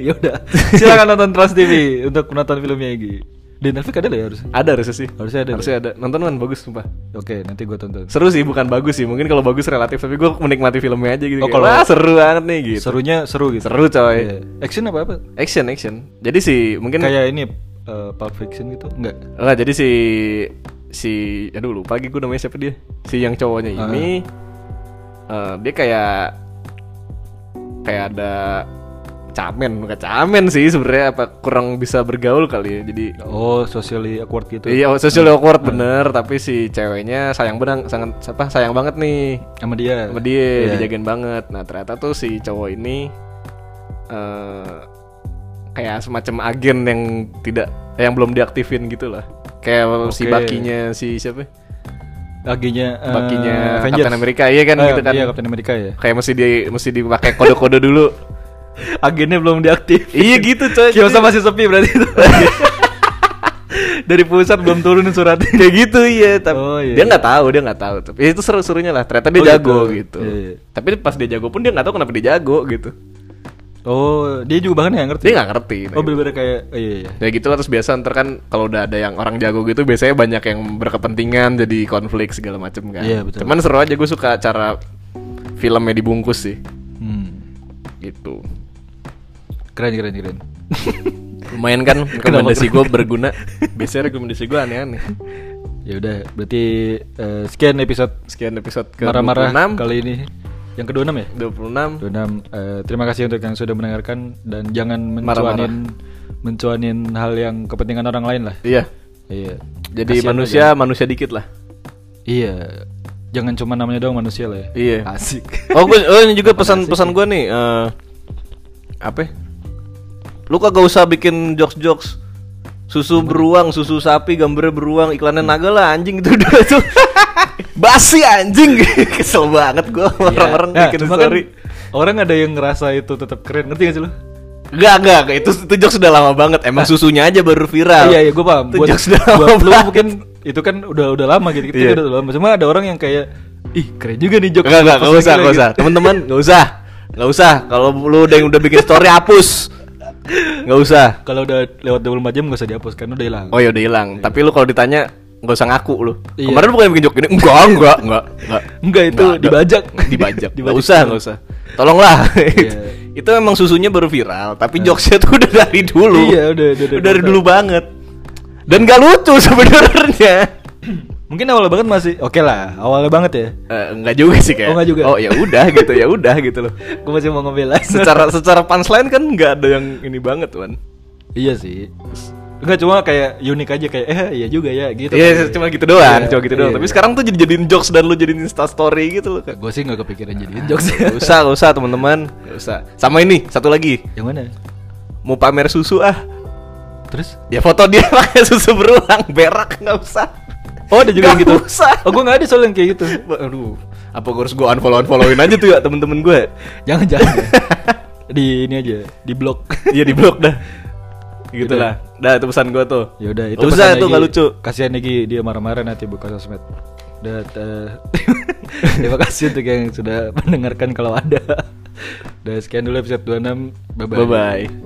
ya udah. Silakan nonton Trans TV untuk menonton filmnya Egi. Di Netflix ada lah ya harusnya.
Ada harusnya sih.
Harusnya ada.
Harusnya ada. Nonton man bagus sumpah.
Oke, nanti gua tonton.
seru sih bukan bagus sih mungkin kalau bagus relatif tapi gue menikmati filmnya aja gitu
Oh,
Kayak,
kalau-
wah seru banget nih gitu
Serunya seru gitu.
seru coy
Iya. Action apa apa?
action action jadi si mungkin
Kayak ini eh, Pulp Fiction gitu? Enggak.
Nggak, jadi si si aduh lupa lagi gue namanya siapa dia si yang cowoknya
Ah.
ini eh, dia kayak kayak ada camen bukan camen sih sebenarnya apa kurang bisa bergaul kali ya jadi
Oh, socially awkward gitu.
Iya, social awkward bener, tapi si ceweknya sayang benang, sangat apa sayang banget nih.
Sama dia.
sama dia
Iya.
dijagain banget nah ternyata tuh si cowok ini eh kayak semacam agen yang tidak yang belum diaktifin gitu lah kayak si
Oke.
bakinya si siapa
Baginya eh,
bakinya
Avengers.
Captain America iya kan
Eh,
gitu kan
Iya, Captain America ya.
kayak mesti di mesti dipakai kode-kode dulu
Agennya belum diaktif.
iya gitu coy
Kiosnya masih sepi berarti itu. Dari pusat belum turun suratnya.
kayak gitu iya tapi
Oh, iya.
dia nggak tahu dia nggak tahu tapi itu seru-serunya lah ternyata dia
Oh,
jago
gitu.
gitu,
Iya, iya.
tapi pas dia jago pun dia nggak tahu kenapa dia jago gitu
Oh, dia juga bahkan nggak ngerti.
Dia nggak ngerti.
Oh, bener-bener kayak oh, iya iya.
Ya gitu lah terus biasa ntar kan kalau udah ada yang orang jago gitu biasanya banyak yang berkepentingan jadi konflik segala macem kan.
Iya, betul.
Cuman seru aja gue suka cara filmnya dibungkus sih
Hmm.
gitu.
Keren keren keren.
Lumayan kan rekomendasi gue berguna. Biasanya rekomendasi gue aneh-aneh.
ya udah, berarti eh, sekian episode
Sekian episode ke
marah-marah
26.
kali ini. Yang ke-26 ya?
26.
26. Eh, terima kasih untuk yang sudah mendengarkan dan jangan
Marah-marah.
mencuanin mencuanin hal yang kepentingan orang lain lah.
Iya.
Iya.
Jadi
Kasihan
manusia
aja.
manusia dikit lah.
Iya. Jangan cuma namanya doang manusia lah ya.
Iya.
Asik.
Oh, gua, oh ini juga pesan-pesan gue nih. eh apa? ya? Lu kagak usah bikin jokes-jokes susu beruang, susu sapi, gambarnya beruang, iklannya naga lah anjing itu udah tuh. Basi anjing, kesel banget gue orang-orang
Nah,
bikin
cuma kan
story.
orang ada yang ngerasa itu tetap keren, ngerti gak sih lo?
Gak, gak, gak, itu, itu jokes udah lama banget Emang susunya aja baru viral
Nah. Iya iya gue paham.
Nah, Itu
Buat,
jokes udah lama
buat lu
banget.
mungkin itu kan udah udah lama gitu gitu
Iya.
udah lama. Cuma ada orang yang kayak ih keren juga nih jokes. gitu.
Enggak, enggak,
Pas
enggak usah,
lagi
enggak
lagi.
usah. Teman-teman, enggak usah. Enggak usah. Kalau lu udah yang udah bikin story hapus. Enggak usah.
Kalau udah lewat 24 jam gak usah dihapus kan udah hilang.
Oh ya udah hilang. Tapi lu kalau ditanya enggak usah ngaku lu.
Iya.
Kemarin bukan yang bikin joke ini. Enggak, enggak, enggak, enggak.
Enggak, itu
Enggak, enggak.
dibajak.
Dibajak. Enggak
Dibajak.
usah, enggak usah. Tolonglah.
Iya.
itu memang susunya baru viral, tapi jokesnya tuh udah dari dulu.
Iya, udah- udah- udah-
dari
udah.
dulu banget. Dan gak lucu sebenarnya.
Mungkin awalnya banget masih oke lah, awalnya banget ya.
Eh, enggak juga sih kayak.
Oh, enggak juga.
Oh ya udah gitu, ya udah gitu loh.
Gue masih mau ngebela.
secara secara punchline kan nggak ada yang ini banget kan
iya sih. Enggak cuma kayak unik aja kayak eh iya juga ya gitu. iya.
iya cuma gitu doang cuma gitu doang tapi
Tapi
sekarang tuh jadi jadiin jokes dan lu jadiin insta story gitu loh kan
gue sih gak kepikiran jadiin jokes.
Gak usah gak usah teman-teman Gak usah sama ini satu lagi
yang mana?
mau pamer susu ah
Terus?
ya foto dia pakai susu berulang berak nggak usah
Oh ada juga
Nggak
yang gitu.
usah.
Oh gue gak ada soal yang kayak gitu.
aduh apa gue harus gue unfollow unfollowin aja tuh ya temen-temen gue
Jangan jangan. ya. di ini aja di blog.
iya di blok dah gitulah dah itu pesan gue tuh
ya udah itu
Nggak usah
pesan
tuh
Egy.
nggak lucu
Kasihan lagi dia marah-marah nanti buka sosmed. Udah, eh, terima kasih untuk yang sudah mendengarkan kalau ada. Udah sekian dulu episode 26. Bye bye.
bye bye